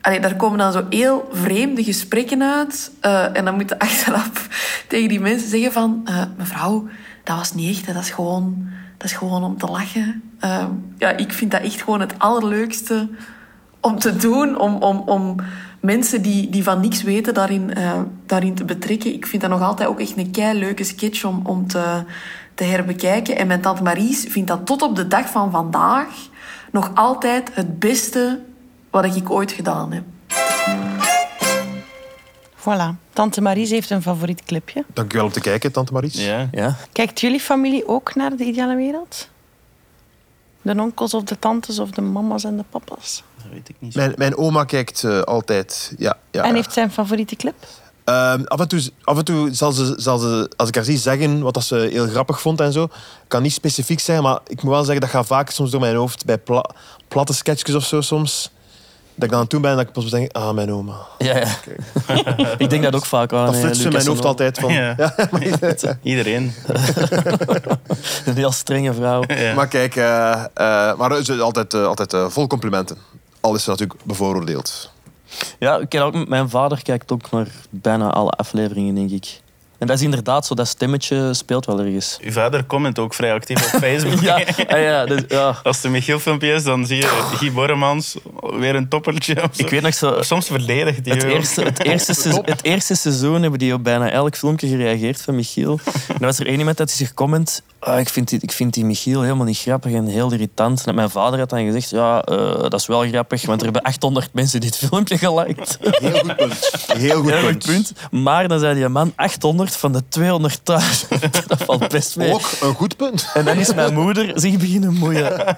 Speaker 7: allee, daar komen dan zo heel vreemde gesprekken uit. Eh, en dan moet je achteraf tegen die mensen zeggen van... eh, mevrouw, dat was niet echt. hè. Dat is gewoon, dat is gewoon om te lachen. Eh, ja, ik vind dat echt gewoon het allerleukste om te doen. Om, om, om mensen die, die van niks weten daarin, eh, daarin te betrekken. Ik vind dat nog altijd ook echt een kei leuke sketch om, om te, te herbekijken. En mijn tante Maries vindt dat tot op de dag van vandaag nog altijd het beste wat ik ooit gedaan heb.
Speaker 2: Voilà. Tante Maries heeft een favoriet clipje.
Speaker 5: Dankjewel om te kijken, tante Maries.
Speaker 3: Ja.
Speaker 4: Ja.
Speaker 2: Kijkt jullie familie ook naar de ideale wereld? De onkels of de tantes of de mama's en de papa's?
Speaker 3: Dat weet ik niet. zo.
Speaker 5: Mijn, mijn oma kijkt eh, altijd. Ja, ja,
Speaker 2: En
Speaker 5: ja.
Speaker 2: heeft zijn favoriete clip?
Speaker 5: Ehm, af en toe, af en toe zal, ze, zal ze, als ik haar zie zeggen wat dat ze heel grappig vond en zo, Ik kan niet specifiek zijn, maar ik moet wel zeggen dat gaat vaak soms door mijn hoofd bij pla- platte sketchjes of zo soms. Dat ik dan aan toe ben en dat ik pas denk, ah, mijn oma.
Speaker 4: Ja, ja. ik denk dat ook vaak aan.
Speaker 5: Dat
Speaker 4: hè,
Speaker 5: flitst in
Speaker 4: Lucas
Speaker 5: mijn hoofd
Speaker 4: en al.
Speaker 5: altijd van.
Speaker 3: Ja. Iedereen.
Speaker 4: Een heel strenge vrouw.
Speaker 3: Ja.
Speaker 5: Maar kijk, eh, eh, maar ze is altijd, eh, altijd eh, vol complimenten. Al is ze natuurlijk bevooroordeeld.
Speaker 4: Ja, ik ken ook, mijn vader kijkt ook naar bijna alle afleveringen, denk ik. En dat is inderdaad zo, dat stemmetje speelt wel ergens.
Speaker 3: Uw vader comment ook vrij actief op Facebook.
Speaker 4: Ja, ah ja, dus, ja.
Speaker 3: Als het een Michiel-filmpje is, dan zie je Guy Borremans weer een toppertje. of zo.
Speaker 4: Ik weet nog zo,
Speaker 3: Soms verdedigt hij
Speaker 4: het
Speaker 3: ook.
Speaker 4: eerste, het, eerste seizoen, het eerste seizoen hebben die op bijna elk filmpje gereageerd van Michiel. En dan was er één iemand dat zich comment. Ah, ik, vind die, ik vind die Michiel helemaal niet grappig en heel irritant. En mijn vader had dan gezegd, ja, eh, dat is wel grappig, want er hebben 800 mensen dit filmpje geliked.
Speaker 5: Heel goed punt. Heel goed
Speaker 4: Heel
Speaker 5: punt.
Speaker 4: goed punt. Maar dan zei die man, 800 van de 200 thuis. dat valt best mee.
Speaker 5: Ook een goed punt.
Speaker 4: En dan is mijn moeder zich beginnen moeien.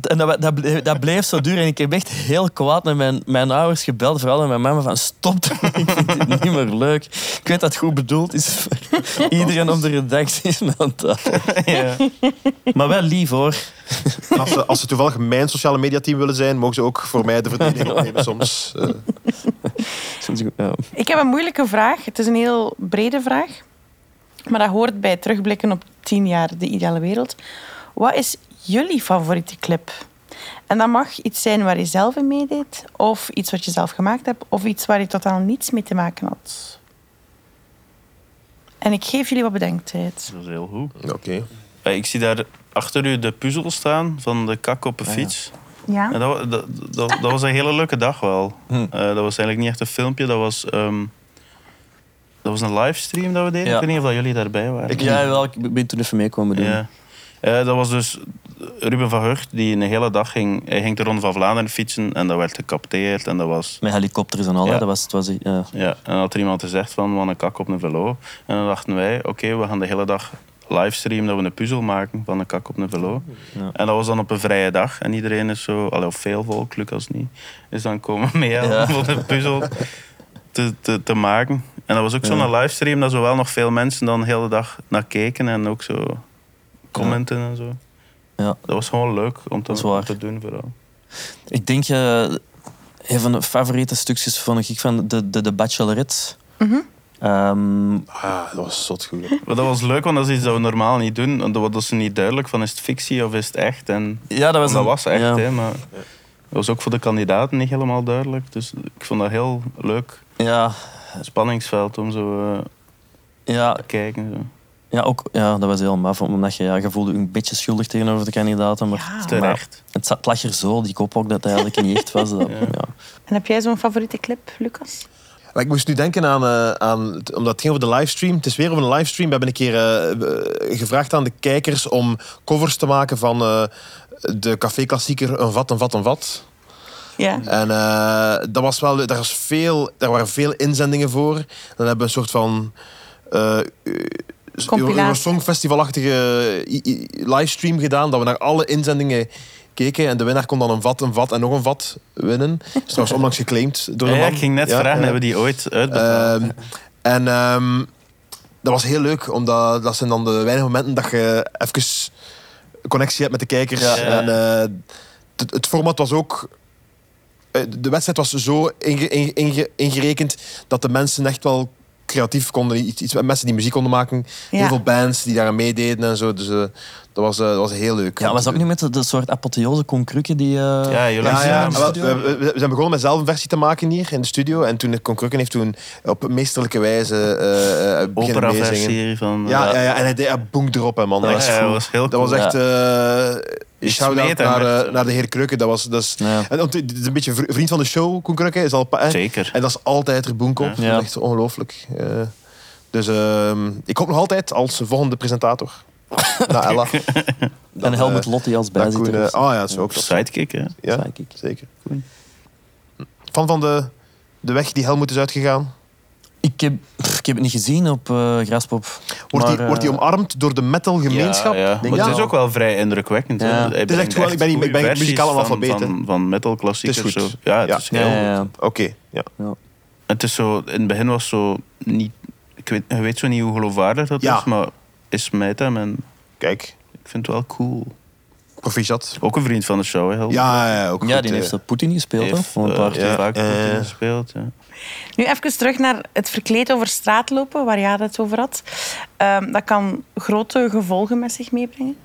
Speaker 4: En dat, dat, bleef, dat bleef zo duur. En ik heb echt heel kwaad naar mijn, mijn ouders gebeld. Vooral naar mijn mama van stop ermee, ik vind dit niet meer leuk. Ik weet dat het goed bedoeld is voor iedereen op de redactie van tafel.
Speaker 3: Ja.
Speaker 4: Maar wel lief hoor.
Speaker 5: Als ze, als ze toevallig mijn sociale mediateam willen zijn, mogen ze ook voor mij de verdediging opnemen soms. Eh,
Speaker 4: Soms ook, ja.
Speaker 2: Ik heb een moeilijke vraag. Het is een heel brede vraag. Maar dat hoort bij terugblikken op tien jaar de ideale wereld. Wat is jullie favoriete clip? En dat mag iets zijn waar je zelf in meedeed, of iets wat je zelf gemaakt hebt, of iets waar je totaal niets mee te maken had. En ik geef jullie wat bedenktijd.
Speaker 3: Dat is heel goed.
Speaker 5: Oké.
Speaker 3: Ja, Ik zie daar achter u de puzzel staan van de kak op een
Speaker 4: Ah,
Speaker 3: fiets. En
Speaker 2: Ja?
Speaker 3: dat, wa- dat, dat, dat was een hele leuke dag wel.
Speaker 4: Hm.
Speaker 3: Eh, dat was eigenlijk niet echt een filmpje, dat was, ehm, dat was een livestream dat we deden.
Speaker 4: Ja.
Speaker 3: Ik weet niet of dat jullie daarbij waren.
Speaker 4: Ik, ja, wel, ik ben toen even mee komen doen.
Speaker 3: Ja. Eh, dat was dus Ruben van Hucht die een hele dag ging, hij ging de Ronde van Vlaanderen fietsen en dat werd gecapteerd en dat was...
Speaker 4: Met helikopters en al. hè.
Speaker 3: Ja.
Speaker 4: Dat was, het was, ja.
Speaker 3: Ja, en dan had er iemand gezegd van, wat een kak op een velo. En dan dachten wij, oké, we gaan de hele dag livestreamen dat we een puzzel maken van een kak op een velo.
Speaker 4: Ja.
Speaker 3: En dat was dan op een vrije dag. En iedereen is zo, allee, of veel volk, Lucas niet, is dan komen mee
Speaker 4: Ja.
Speaker 3: om de puzzel te, te, te maken. En dat was ook zo'n
Speaker 4: Ja.
Speaker 3: livestream dat zowel nog veel mensen dan de hele dag naar keken en ook zo commenten en zo.
Speaker 4: Ja.
Speaker 3: Dat was gewoon leuk om te,
Speaker 4: Dat is waar.
Speaker 3: om te doen vooral.
Speaker 4: Ik denk, eh, een van de favoriete stukjes vond ik van de, de, de Bachelorette. Ehm,
Speaker 5: Ah, dat was zot goed.
Speaker 3: Maar dat was leuk, want dat is iets dat we normaal niet doen. Want Dat was niet duidelijk van is het fictie of is het echt. En
Speaker 4: ja, dat was,
Speaker 3: Want dat
Speaker 4: een-
Speaker 3: was echt,
Speaker 4: ja.
Speaker 3: hè, maar dat was ook voor de kandidaten niet helemaal duidelijk. Dus ik vond dat heel leuk
Speaker 4: Ja,
Speaker 3: spanningsveld om zo eh,
Speaker 4: ja,
Speaker 3: te kijken. Zo.
Speaker 4: ja, ook, ja, dat was heel maf. Omdat je, ja, je voelde je een beetje schuldig tegenover de kandidaten. Maar,
Speaker 2: Ja.
Speaker 4: maar
Speaker 3: Terecht.
Speaker 4: het zat- het lag er zo, die kop ook, dat het eigenlijk niet echt was. Dat, ja.
Speaker 2: En heb jij zo'n favoriete clip, Lucas?
Speaker 5: Maar ik moest nu denken aan, eh, aan het- omdat het ging over de livestream. Het is weer over een livestream. We hebben een keer eh, eh, gevraagd aan de kijkers om covers te maken van eh, de café klassieker Een Vat, Een Vat, Een Vat.
Speaker 2: Ja.
Speaker 5: En eh, dat was wel, daar, was veel, daar waren veel inzendingen voor. Dan hebben we een soort van eh
Speaker 2: Compilatie.
Speaker 5: Euro- Songfestivalachtige i- i- livestream gedaan. Dat we naar alle inzendingen keken. En de winnaar kon dan een vat, een vat en nog een vat winnen. Dus Dat is trouwens onlangs geclaimd door de
Speaker 3: Ja,
Speaker 5: man.
Speaker 3: ik ging net
Speaker 5: Ja,
Speaker 3: vragen,
Speaker 5: ja.
Speaker 3: hebben die ooit uitbetaald?
Speaker 5: Ehm, en ehm, dat was heel leuk, omdat dat zijn dan de weinige momenten dat je even connectie hebt met de kijkers.
Speaker 3: Ja.
Speaker 5: En eh, het, het format was ook. eh, De wedstrijd was zo inge- inge- inge- ingerekend dat de mensen echt wel creatief konden. Iets, iets, mensen die muziek konden maken.
Speaker 2: Ja.
Speaker 5: Heel veel bands die daar aan meededen en zo. Dus eh, dat, was, eh, dat was heel leuk.
Speaker 4: ja, was dat ook niet met de, de soort apotheose concrukken die... eh,
Speaker 3: ja, jullie
Speaker 5: Ja, ja,
Speaker 3: zijn-
Speaker 5: wel, we, we- we zijn begonnen met zelf een versie te maken hier in de studio. En toen Concrukken heeft toen op meesterlijke wijze eh, eh beginnen meezingen.
Speaker 3: opera-versie van... eh,
Speaker 5: Ja, ja, ja, en hij deed hij boeng erop, hè, man.
Speaker 3: ja,
Speaker 5: Dat was,
Speaker 3: ja, dat was heel
Speaker 5: dat was
Speaker 3: cool.
Speaker 5: echt... eh
Speaker 3: Die
Speaker 5: Shout-out
Speaker 3: smeet hem
Speaker 5: naar, eh,
Speaker 3: echt.
Speaker 5: naar de heer Krukken. Dat was, dat is,
Speaker 4: Ja.
Speaker 5: en, want dit is een beetje vri- vriend van de show, Koen Krukken. Is al, een pa- hè.
Speaker 3: Zeker.
Speaker 5: En dat is altijd er boenk op.
Speaker 4: Ja.
Speaker 5: Dat is echt ongelooflijk. Eh, dus ehm, ik hoop nog altijd als volgende presentator. Na Ella.
Speaker 4: en Helmut Lot die als
Speaker 5: Dat Koen,
Speaker 4: bijzitter
Speaker 5: eh,
Speaker 4: is.
Speaker 5: oh ja, dat is ook tof.
Speaker 3: Sidekick, hè?
Speaker 5: Ja,
Speaker 4: Sidekick.
Speaker 5: zeker. Fan van de, de weg die Helmut is uitgegaan?
Speaker 4: Ik heb, pff, ik heb het niet gezien op eh, Graspop.
Speaker 5: Wordt,
Speaker 4: maar,
Speaker 5: die, wordt die
Speaker 4: eh,
Speaker 5: omarmd door de metalgemeenschap?
Speaker 3: Ja, ja.
Speaker 5: Denk
Speaker 3: Maar
Speaker 5: ja.
Speaker 3: het is ook wel vrij indrukwekkend. hè.
Speaker 4: Ja.
Speaker 3: Hij
Speaker 4: Het is
Speaker 5: echt
Speaker 3: brengt
Speaker 5: gewoon- ik ben niet-
Speaker 3: goede
Speaker 5: ik ben geen
Speaker 3: versies
Speaker 5: muzikaal
Speaker 3: van-
Speaker 5: analfabeet,
Speaker 3: Van,
Speaker 5: hè.
Speaker 3: van, metal, klassiek
Speaker 5: Het
Speaker 3: of
Speaker 5: is
Speaker 3: zo.
Speaker 5: goed.
Speaker 3: Ja, het
Speaker 5: Ja.
Speaker 3: is
Speaker 4: ja,
Speaker 3: heel
Speaker 4: ja, ja.
Speaker 5: Oké, ja.
Speaker 3: Het is zo, in het begin was zo niet. Ik weet, je weet zo niet hoe geloofwaardig dat
Speaker 5: Ja.
Speaker 3: is, maar is met hem en
Speaker 5: Kijk,
Speaker 3: ik vind het wel cool.
Speaker 5: proficiat.
Speaker 3: Ook een vriend van de show, hè? Helder.
Speaker 5: Ja, ja, ja, ook
Speaker 4: ja,
Speaker 5: goed,
Speaker 4: die
Speaker 5: eh.
Speaker 4: heeft dat Poetin gespeeld, hè?
Speaker 3: Heeft,
Speaker 4: Voor een
Speaker 3: eh,
Speaker 4: paar
Speaker 3: ja,
Speaker 4: keer.
Speaker 3: vaak goed
Speaker 5: Eh.
Speaker 3: ingespeeld. Ja.
Speaker 2: Nu even terug naar het verkleed over straat lopen, waar jij het over had. Ehm, dat kan grote gevolgen met zich meebrengen.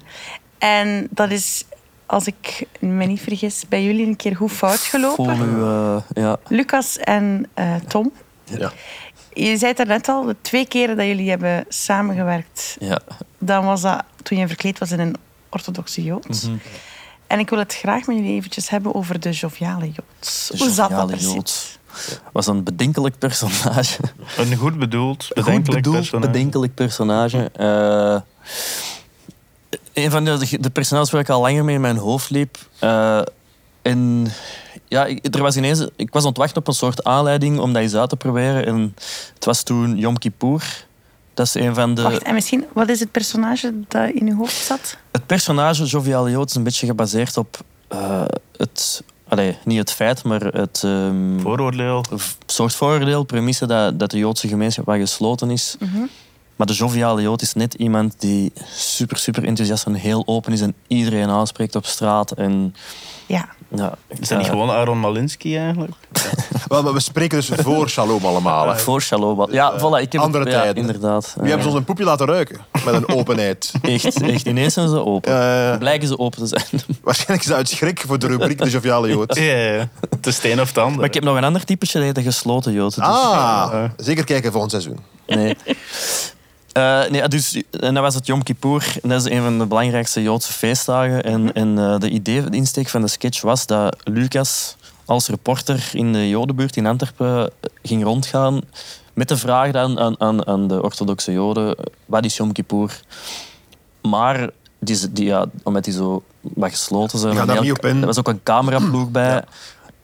Speaker 2: En dat is, als ik me niet vergis, bij jullie een keer goed fout gelopen.
Speaker 4: Voor uw, eh, ja.
Speaker 2: Lucas en eh, Tom.
Speaker 5: Ja.
Speaker 2: Je zei het net al, de twee keren dat jullie hebben samengewerkt,
Speaker 4: ja.
Speaker 2: dan was dat toen je verkleed was in een orthodoxe jood. En ik wil het graag met jullie eventjes hebben over de joviale jood.
Speaker 4: De
Speaker 2: Hoe zat dat
Speaker 4: joviale
Speaker 2: precies?
Speaker 4: jood. Was een bedenkelijk personage.
Speaker 3: Een goed bedoeld,
Speaker 4: Goed
Speaker 3: bedenkelijk
Speaker 4: bedoeld,
Speaker 3: personage.
Speaker 4: bedenkelijk personage. Eh, een van de, de personages waar ik al langer mee in mijn hoofd liep. eh, en ja, ik, er was ineens, ik was ontwacht op een soort aanleiding om dat eens uit te proberen. En het was toen Yom Kippur. Dat is een van de...
Speaker 2: Wacht, en misschien, wat is het personage dat in uw hoofd zat?
Speaker 4: Het personage Joviale Jood is een beetje gebaseerd op eh, het... Allee, niet het feit, maar het... ehm,
Speaker 3: Vooroordeel.
Speaker 4: v- soort vooroordeel, premisse dat, dat de Joodse gemeenschap wel gesloten is. Maar de joviale Jood is net iemand die super, super enthousiast en heel open is en iedereen aanspreekt op straat. En,
Speaker 2: Ja,
Speaker 4: ja,
Speaker 3: Is dat niet
Speaker 4: eh,
Speaker 3: gewoon Aaron Malinsky eigenlijk?
Speaker 5: Wel, maar we spreken dus voor Shalom allemaal. hè.
Speaker 4: Voor Shalom. wat- Ja,
Speaker 5: eh,
Speaker 4: voilà, ik heb
Speaker 5: andere
Speaker 4: het, ja,
Speaker 5: tijden.
Speaker 4: inderdaad. Eh,
Speaker 5: Wie hebben ze ons een poepje laten ruiken? Met een openheid.
Speaker 4: echt, echt, ineens zijn ze open.
Speaker 5: Eh,
Speaker 4: Blijken ze open te zijn.
Speaker 5: waarschijnlijk is dat uit schrik voor de rubriek De Joviale Jood.
Speaker 3: Ja, ja, ja. Het is het een of het ander.
Speaker 4: Maar ik heb nog een ander typetje, dat heet de gesloten Jood. Dus-
Speaker 5: Ah, zeker kijken volgend seizoen.
Speaker 4: Nee. Eh, nee, dus, en dat was het Yom Kippur. En dat is een van de belangrijkste Joodse feestdagen.
Speaker 5: Mhm.
Speaker 4: En, en eh, de idee, de insteek van de sketch was dat Lucas als reporter in de Jodenbuurt in Antwerpen eh, ging rondgaan met de vraag dan aan, aan, aan de orthodoxe Joden, wat is Yom Kippur? Maar die, ze- die, ja, omdat die zo wat gesloten zijn...
Speaker 5: Die gaan
Speaker 4: en
Speaker 5: daar
Speaker 4: heel-
Speaker 5: niet op in.
Speaker 4: Er was ook een cameraploeg bij.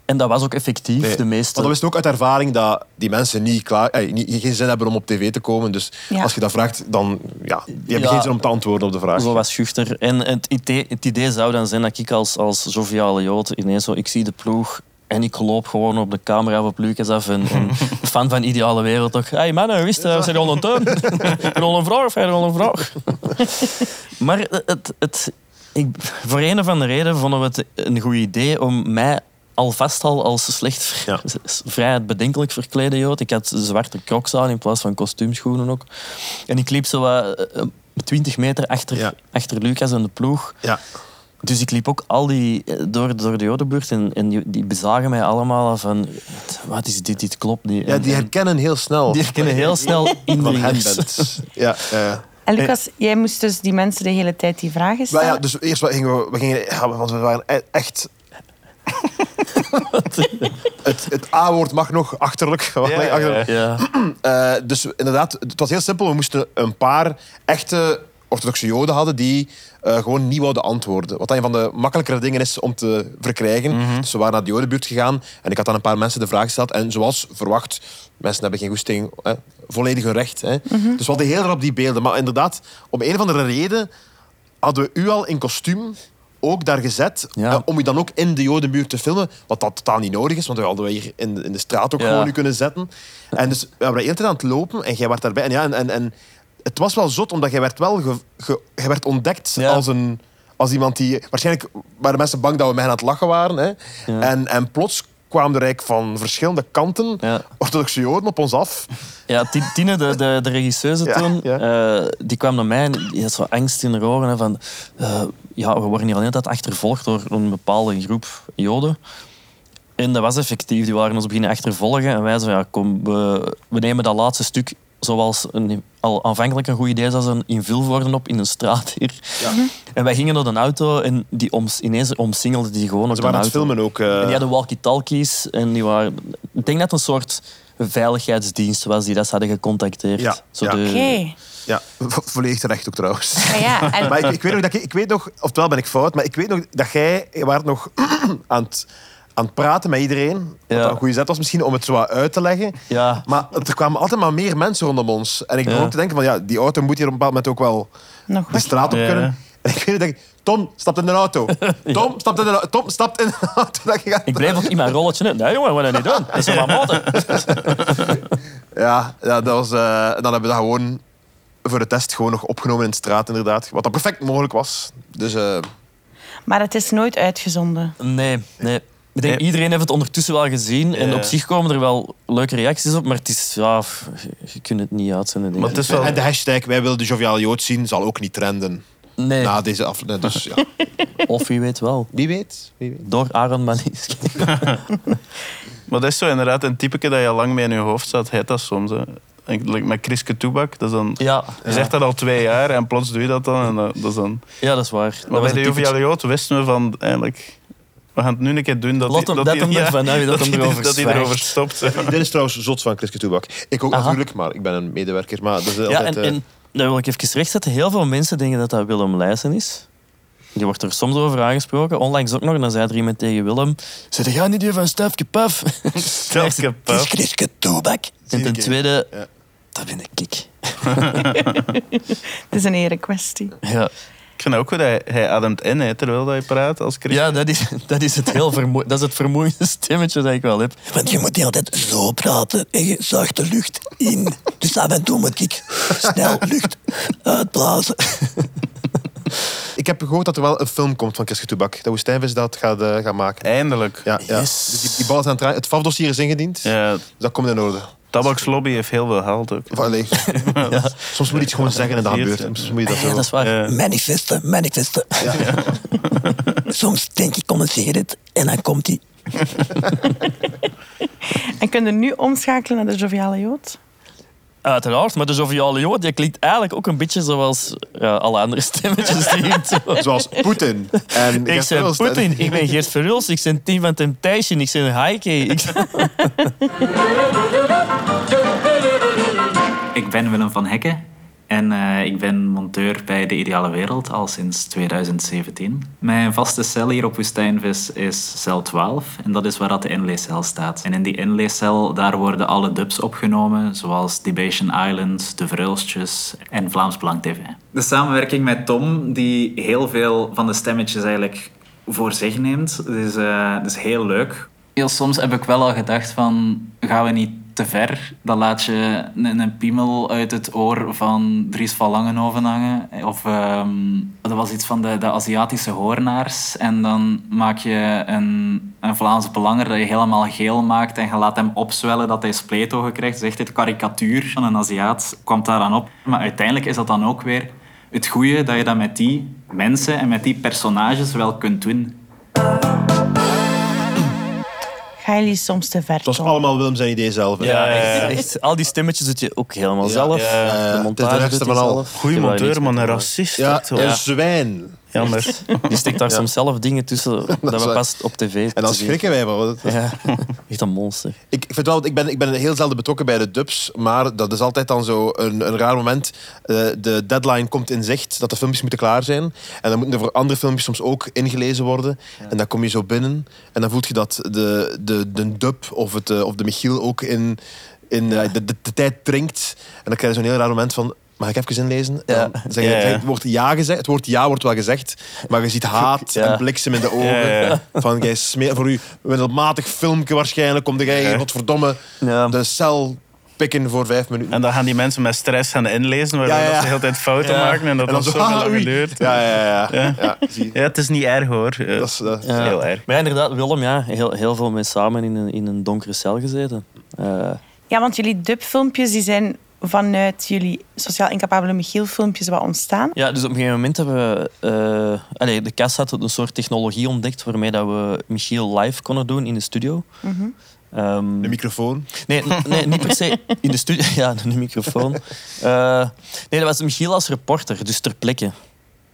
Speaker 4: En dat was ook effectief,
Speaker 5: Nee.
Speaker 4: de meeste...
Speaker 5: Want we wisten ook uit ervaring dat die mensen niet klaar, eh, niet, geen zin hebben om op tv te komen. Dus
Speaker 2: Ja.
Speaker 5: als je dat vraagt, dan ja, die hebben
Speaker 4: Ja.
Speaker 5: geen zin om te antwoorden op de vraag.
Speaker 4: Zo wat schuchter. En het idee, het idee zou dan zijn dat ik als, als joviale jood ineens zo... Ik zie de ploeg en ik loop gewoon op de camera op Lucas af. En, en fan van Ideale Wereld toch. Hé hey mannen, wist je, we zijn al een tuin. En al een vrouw of al een vrouw. Maar het, het, ik, voor een of andere reden vonden we het een goed idee om mij alvast al als slecht
Speaker 5: Ja.
Speaker 4: s- vrij bedenkelijk verklede jood. Ik had zwarte crocs aan in plaats van kostuumschoenen ook. En ik liep zo wat eh, twintig meter achter,
Speaker 5: Ja.
Speaker 4: achter Lucas en de ploeg.
Speaker 5: Ja.
Speaker 4: Dus ik liep ook al die eh, door, door de jodenbuurt en, en die, die bezagen mij allemaal al van... Wat is dit? Dit klopt niet.
Speaker 5: ja,
Speaker 4: En-
Speaker 5: die
Speaker 4: en
Speaker 5: herkennen heel snel
Speaker 4: die herkennen heel snel
Speaker 5: van hen
Speaker 4: indringers.
Speaker 5: bent. Ja, eh.
Speaker 2: En Lucas, jij moest dus die mensen de hele tijd die vragen
Speaker 5: Maar
Speaker 2: stellen.
Speaker 5: ja, dus eerst wat gingen we, we gingen, ja, want we waren e- echt. het het A-woord mag nog achterlijk.
Speaker 3: ja, ja.
Speaker 5: Achterlijk.
Speaker 4: Ja.
Speaker 5: Eh, dus inderdaad, het was heel simpel. We moesten een paar echte orthodoxe joden hadden die eh, gewoon niet wouden antwoorden. Wat een van de makkelijkere dingen is om te verkrijgen.
Speaker 4: Mhm.
Speaker 5: Dus we waren naar de jodenbuurt gegaan en ik had aan een paar mensen de vraag gesteld. En zoals verwacht, mensen hebben geen goesting, hè, volledig hun recht. Hè.
Speaker 4: Mhm.
Speaker 5: Dus we hadden heel erg op die beelden. Maar inderdaad, om een of andere reden hadden we u al in kostuum ook daar gezet
Speaker 4: Ja.
Speaker 5: eh, om u dan ook in de Jodenbuurt te filmen, wat dat totaal niet nodig is, want we hadden we hier in de, in de straat ook
Speaker 4: Ja.
Speaker 5: gewoon u kunnen zetten. En dus we waren de hele tijd aan het lopen en jij werd daarbij. En, ja, en, en, en het was wel zot, omdat jij werd wel ge, ge- jij werd ontdekt
Speaker 4: Ja.
Speaker 5: als, een, als iemand die... Waarschijnlijk waren mensen bang dat we met hen aan het lachen waren. Hè?
Speaker 4: Ja.
Speaker 5: En, en plots kwamen er eigenlijk van verschillende kanten
Speaker 4: Ja.
Speaker 5: orthodoxe Joden op ons af.
Speaker 4: Ja, Ti- Tine, de, de, de regisseuse
Speaker 5: Ja,
Speaker 4: toen,
Speaker 5: ja.
Speaker 4: eh, die kwam naar mij en die had zo angst in haar ogen. hè, Van, eh, ja, we worden hier alleen tijd achtervolgd door een bepaalde groep Joden. En dat was effectief. Die waren ons beginnen achtervolgen. En wij zeiden, ja, kom, we, we nemen dat laatste stuk, zoals een, al aanvankelijk een goed idee zou zijn, in worden op in een straat hier. En wij gingen naar de auto en die oms, ineens omsingelde die gewoon op
Speaker 5: Ze waren aan het
Speaker 4: auto.
Speaker 5: filmen ook. eh.
Speaker 4: En die hadden walkie-talkies en die waren... Ik denk dat het een soort veiligheidsdienst was die dat ze hadden gecontacteerd.
Speaker 5: Ja,
Speaker 4: Zo
Speaker 5: ja.
Speaker 4: de-
Speaker 2: Oké.
Speaker 5: Ja, vo- volledig terecht ook trouwens.
Speaker 2: Maar ja, en
Speaker 5: Maar ik, ik weet nog dat ik, ik weet nog, oftewel ben ik fout, maar ik weet nog dat jij je waart nog aan het aan het praten met iedereen. Wat
Speaker 4: Ja.
Speaker 5: dan een goede zet was misschien om het zo wat uit te leggen.
Speaker 4: Ja.
Speaker 5: Maar er kwamen altijd maar meer mensen rondom ons. En ik begon
Speaker 4: Ja.
Speaker 5: ook te denken van ja, die auto moet hier op een bepaald moment ook wel
Speaker 2: Nog
Speaker 5: de
Speaker 2: weg.
Speaker 5: straat op
Speaker 3: Ja.
Speaker 5: kunnen. En ik weet niet, denk ik, Tom, stapt in de auto. Tom, stapt in de auto. Tom, stapt in de auto. Dat ik-
Speaker 4: Ik bleef ook in mijn rolletje. in. Nee jongen, wat dat niet doen. Dat is toch maar motor.
Speaker 5: Ja, ja, dat was, eh, dan hebben we dat gewoon voor de test gewoon nog opgenomen in de straat, inderdaad. Wat dat perfect mogelijk was. Dus eh,
Speaker 2: Maar het is nooit uitgezonden.
Speaker 4: Nee, nee. Ik denk,
Speaker 3: Nee.
Speaker 4: iedereen heeft het ondertussen wel gezien. En
Speaker 3: Ja.
Speaker 4: op zich komen er wel leuke reacties op. Maar het is... Ja, f- je- je kunt het niet uitzenden. Denk
Speaker 3: Maar
Speaker 4: ik.
Speaker 3: het is wel...
Speaker 5: En de hashtag wij willen de joviale jood zien zal ook niet trenden
Speaker 4: Nee,
Speaker 5: na deze aflevering. Dus ja,
Speaker 4: of wie weet wel.
Speaker 5: wie weet. Wie weet.
Speaker 4: Door Aaron Maniski.
Speaker 3: Maar dat is zo inderdaad een typeke dat je al lang mee in je hoofd zat. Heet dat soms. Hè. Ik- like Met Chriske Toebak. Dat is dan,
Speaker 4: Ja.
Speaker 3: Je zegt dat al twee jaar en plots doe je dat dan. En dat, dat is dan
Speaker 4: ja, dat is waar.
Speaker 3: maar
Speaker 4: dat
Speaker 3: bij
Speaker 4: was
Speaker 3: de
Speaker 4: een typisch-
Speaker 3: Joviale Jood wisten we van eigenlijk... We gaan het nu een keer doen dat
Speaker 4: Laat hem- dat hem ervan uit, dat hem
Speaker 3: hij-
Speaker 4: erover
Speaker 3: dat hij erover
Speaker 4: zwijgt.
Speaker 3: stopt.
Speaker 5: Dit is trouwens zot van Chriske Toebak. Ik ook
Speaker 4: Aha.
Speaker 5: natuurlijk, maar ik ben een medewerker. Maar dat is
Speaker 4: Ja,
Speaker 5: altijd,
Speaker 4: en,
Speaker 5: eh,
Speaker 4: en dat wil ik even rechtzetten. Heel veel mensen denken dat dat Willem Leijsen is. Die wordt er soms over aangesproken. Onlangs ook nog, en dan zei er iemand tegen Willem... Zet jij niet weer van Stefke Paf? Het
Speaker 3: Stefke
Speaker 4: is
Speaker 3: Paf.
Speaker 4: Chriske Toebak. En ten
Speaker 5: ik, hè?
Speaker 4: tweede,
Speaker 5: Ja.
Speaker 4: dat ben ik. ik.
Speaker 2: Het is een erekwestie.
Speaker 4: Ja,
Speaker 3: Ik vind ook goed, hij, hij ademt in hè, terwijl dat hij praat als Chriske.
Speaker 4: ja dat, is, dat, is het heel vermoe- dat is het vermoeiende stemmetje dat ik wel heb.
Speaker 8: Want je moet de hele tijd zo praten en je zuigt de lucht in. Dus af en toe moet ik snel lucht uitblazen.
Speaker 5: Ik heb gehoord dat er wel een film komt van Chriske Toebak. Dat Woestijnvis dat gaat, eh, gaan maken.
Speaker 3: Eindelijk.
Speaker 5: Ja, ja.
Speaker 4: Yes.
Speaker 5: Dus die, die bal is aan het draaien. Het FAF-dossier is ingediend.
Speaker 3: Ja,
Speaker 5: Dus dat komt in orde.
Speaker 3: tabakslobby heeft heel veel geld ook.
Speaker 5: Of, allee, Soms moet je iets gewoon zeggen en dat gebeurt. Soms moet je dat
Speaker 4: Ja,
Speaker 5: zo...
Speaker 4: dat is waar.
Speaker 3: Ja.
Speaker 8: Manifesten, manifesten. Soms denk ik om een sigaret en dan komt die.
Speaker 2: En kunnen we nu omschakelen naar de joviale jood?
Speaker 4: Uiteraard, maar de Joviale Jood die klinkt eigenlijk ook een beetje zoals ja, alle andere stemmetjes die ik doe.
Speaker 5: Zoals Poetin. En
Speaker 4: Ik
Speaker 5: Gert
Speaker 4: ben
Speaker 5: Verhulst.
Speaker 4: Poetin, ik ben Geert Verhulst, ik ben Team van Temptation, ik ben Heike. Ik...
Speaker 9: Ik ben Willem van Hekken en eh, ik ben monteur bij De Ideale Wereld al sinds 2017. Mijn vaste cel hier op Woestijnvis is cel 12 en dat is waar dat de inleescel staat. En in die inleescel daar worden alle dubs opgenomen, zoals Debation Island, De Verulstjes en Vlaams Belang TV. De samenwerking met Tom, die heel veel van de stemmetjes eigenlijk voor zich neemt, dus, eh, dat is heel leuk heel soms heb ik wel al gedacht van, gaan we niet te ver? Dan laat je een, een piemel uit het oor van Dries van Langenhoven hangen. Of ehm, dat was iets van de, de Aziatische hoornaars. En dan maak je een, een Vlaams belanger dat je helemaal geel maakt. En je laat hem opzwellen dat hij spleetogen krijgt. Dus echt het karikatuur van een Aziat kwam daaraan op. Maar uiteindelijk is dat dan ook weer het goede dat je dat met die mensen en met die personages wel kunt doen.
Speaker 2: Gaan jullie soms te ver?
Speaker 5: Het was
Speaker 2: Tom?
Speaker 5: allemaal Willem zijn idee zelf. hè.
Speaker 4: Oh. Ja,
Speaker 3: eh,
Speaker 4: echt, echt, al die stemmetjes doe je ook helemaal zelf. Eh,
Speaker 5: ja, ja. Het is
Speaker 4: De
Speaker 5: de
Speaker 4: montage
Speaker 5: ergste
Speaker 4: doet hij
Speaker 5: van al.
Speaker 4: zelf.
Speaker 3: Goeie
Speaker 4: Terwijl je
Speaker 3: monteur,
Speaker 4: niks
Speaker 3: maar
Speaker 4: moet
Speaker 3: een
Speaker 4: doen.
Speaker 3: racist.
Speaker 5: Ja,
Speaker 3: echt, hoor.
Speaker 5: een zwijn.
Speaker 3: Jammer.
Speaker 4: Die stikt daar soms zelf dingen tussen dat,
Speaker 5: is
Speaker 4: we
Speaker 5: waar.
Speaker 4: pas op tv
Speaker 5: En dan
Speaker 4: te zien.
Speaker 5: schrikken wij wel.
Speaker 4: Ja, echt een monster.
Speaker 5: Ik, ik, vind wel, ik, ben, ik ben heel zelden betrokken bij de dubs, maar dat is altijd dan zo een, een raar moment. Eh, de deadline komt in zicht, dat de filmpjes moeten klaar zijn. En dan moeten er voor andere filmpjes soms ook ingelezen worden. En dan kom je zo binnen en dan voel je dat de, de, de dub of, het, eh, of de Michiel ook in, in eh, de, de, de tijd drinkt. En dan krijg je zo'n heel raar moment van... Mag ik even inlezen? En
Speaker 4: Ja.
Speaker 5: Dan zeg je,
Speaker 3: Ja, ja.
Speaker 5: zeg- het, woord ja gezegd, het woord ja wordt wel gezegd, maar je ziet haat
Speaker 4: Ja.
Speaker 5: en bliksem in de ogen.
Speaker 3: Ja, ja.
Speaker 5: Van, jij smeer voor u middelmatig filmpje waarschijnlijk, komt jij
Speaker 3: Ja.
Speaker 5: hier, godverdomme,
Speaker 4: Ja.
Speaker 5: de cel pikken voor vijf minuten.
Speaker 3: En dan gaan die mensen met stress gaan inlezen, waardoor
Speaker 5: Ja, ja.
Speaker 3: dat ze de hele tijd fouten
Speaker 4: Ja.
Speaker 3: maken en dat dan zo
Speaker 5: haha,
Speaker 3: lang
Speaker 5: "Ah, oei.
Speaker 3: duurt.
Speaker 5: Ja, ja, ja. ja. ja. zie je.
Speaker 3: Ja, het is niet erg hoor. Eh,
Speaker 5: Dat is, eh,
Speaker 4: Ja.
Speaker 3: Heel erg.
Speaker 4: Maar ja, inderdaad, Willem, ja, heel, heel veel mensen samen in een, in een donkere cel gezeten. Eh,
Speaker 2: Ja, want jullie dubfilmpjes die zijn vanuit jullie sociaal incapabele Michiel-filmpjes wat ontstaan.
Speaker 4: Ja, dus op een gegeven moment hebben we... eh, allee, de kast had een soort technologie ontdekt waarmee dat we Michiel live konden doen in de studio. Ehm,
Speaker 5: De microfoon.
Speaker 4: nee, n- nee, niet per se in de studio. Ja, de microfoon. Eh, nee, dat was Michiel als reporter, dus ter plekke.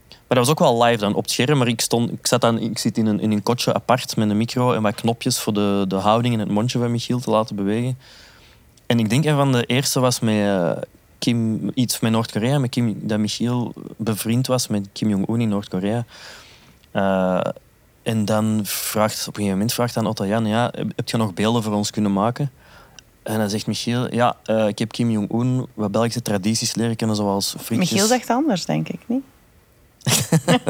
Speaker 4: Maar dat was ook wel live dan op het scherm. Maar ik, stond, ik, zat dan, ik zit in een, in een kotje apart met een micro en wat knopjes voor de, de houding en het mondje van Michiel te laten bewegen. En ik denk een van de eerste was met eh, Kim, iets met Noord-Korea, met Kim, dat Michiel bevriend was met Kim Jong-un in Noord-Korea. Eh, En dan vraagt, op een gegeven moment vraagt aan Otto Jan, ja, heb heb je nog beelden voor ons kunnen maken? En dan zegt Michiel, ja, eh, ik heb Kim Jong-un wat Belgische tradities leren kennen, zoals frietjes.
Speaker 2: Michiel zegt anders, denk ik, niet?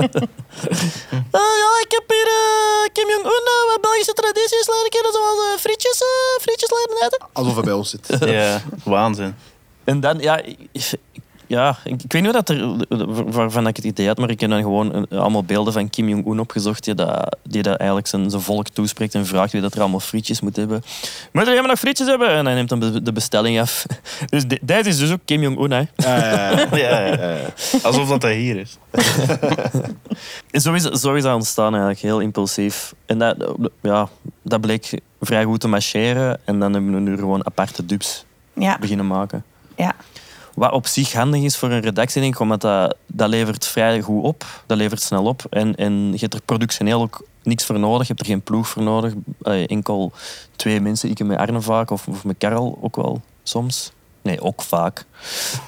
Speaker 4: Eh, ja, ik heb hier eh, Kim Jong-un eh, wat Belgische tradities leren kennen, zoals eh, frietjes, eh, frietjes leren eten.
Speaker 5: Alsof hij bij ons zit.
Speaker 3: Ja, waanzin.
Speaker 4: En dan, ja, ik- ja ik, ik weet niet hoe dat er, waarvan ik het idee had, maar ik heb dan gewoon eh, allemaal beelden van Kim Jong-un opgezocht, die dat, die dat eigenlijk zijn, zijn volk toespreekt en vraagt wie dat er allemaal frietjes moet hebben. Moet er helemaal nog frietjes hebben? En hij neemt dan be- de bestelling af. Dus dit dit is dus ook Kim Jong-un, hè.
Speaker 5: Eh,
Speaker 3: Ja, ja, ja. Alsof dat hij hier is.
Speaker 4: En Zo is, zo is dat ontstaan eigenlijk, heel impulsief. En dat, ja, dat bleek vrij goed te marcheren. En dan hebben we nu gewoon aparte dupes
Speaker 2: Ja,
Speaker 4: beginnen maken.
Speaker 2: ja.
Speaker 4: Wat op zich handig is voor een redactie, denk ik, omdat dat, dat levert vrij goed op. Dat levert snel op. En, en je hebt er productioneel ook niks voor nodig. Je hebt er geen ploeg voor nodig. Eh, enkel twee mensen, ik en mijn Arne vaak, of, of met Karel ook wel soms. Nee, ook vaak.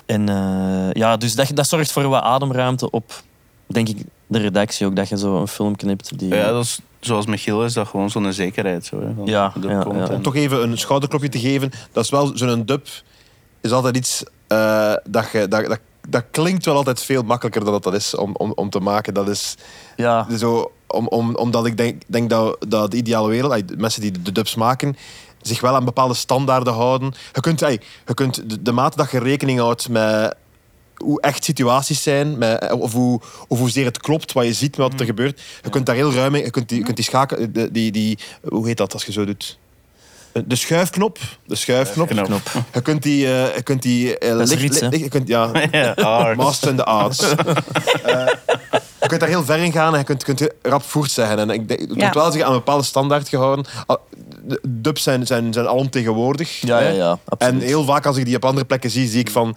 Speaker 4: En eh, ja, dus dat, dat zorgt voor wat ademruimte op, denk ik, de redactie ook. Dat je zo een film knipt die...
Speaker 3: Ja, dat is, zoals Michiel is dat gewoon zo'n zekerheid. Zo, hè, van
Speaker 4: Ja,
Speaker 3: de
Speaker 4: ja,
Speaker 3: content.
Speaker 4: ja.
Speaker 5: om toch even een schouderklopje te geven. Dat is wel zo'n dub. Is altijd iets eh, dat, je, dat, dat, dat klinkt wel altijd veel makkelijker dan dat dat is om, om, om te maken. Dat is
Speaker 4: ja.
Speaker 3: dus
Speaker 5: zo, om, om, omdat ik denk, denk dat, dat de ideale wereld, ey, de mensen die de dubs maken, zich wel aan bepaalde standaarden houden. Je kunt, ey, je kunt de, de mate dat je rekening houdt met hoe echt situaties zijn, met, of, hoe, of hoezeer het klopt, wat je ziet met wat
Speaker 4: Mm.
Speaker 5: er gebeurt. Je kunt daar heel ruim in, je kunt die, je kunt die schaken, de- die, die, hoe heet dat als je zo doet? De schuifknop. De schuifknop.
Speaker 3: Knop.
Speaker 5: Je kunt die... eh, je kunt die eh,
Speaker 4: is
Speaker 5: licht-
Speaker 4: Riets, hè?
Speaker 5: licht- je kunt, ja,
Speaker 3: Ja, hard.
Speaker 5: Master in the Arts. Eh, je kunt daar heel ver in gaan en je kunt, kunt rap voert zeggen. En ik denk, het
Speaker 2: Ja.
Speaker 5: wordt wel zich aan een bepaalde standaard gehouden. Al- de- Dubs zijn, zijn, zijn alomtegenwoordig.
Speaker 4: Ja, ja, ja, absoluut.
Speaker 5: En heel vaak als ik die op andere plekken zie, zie ik van...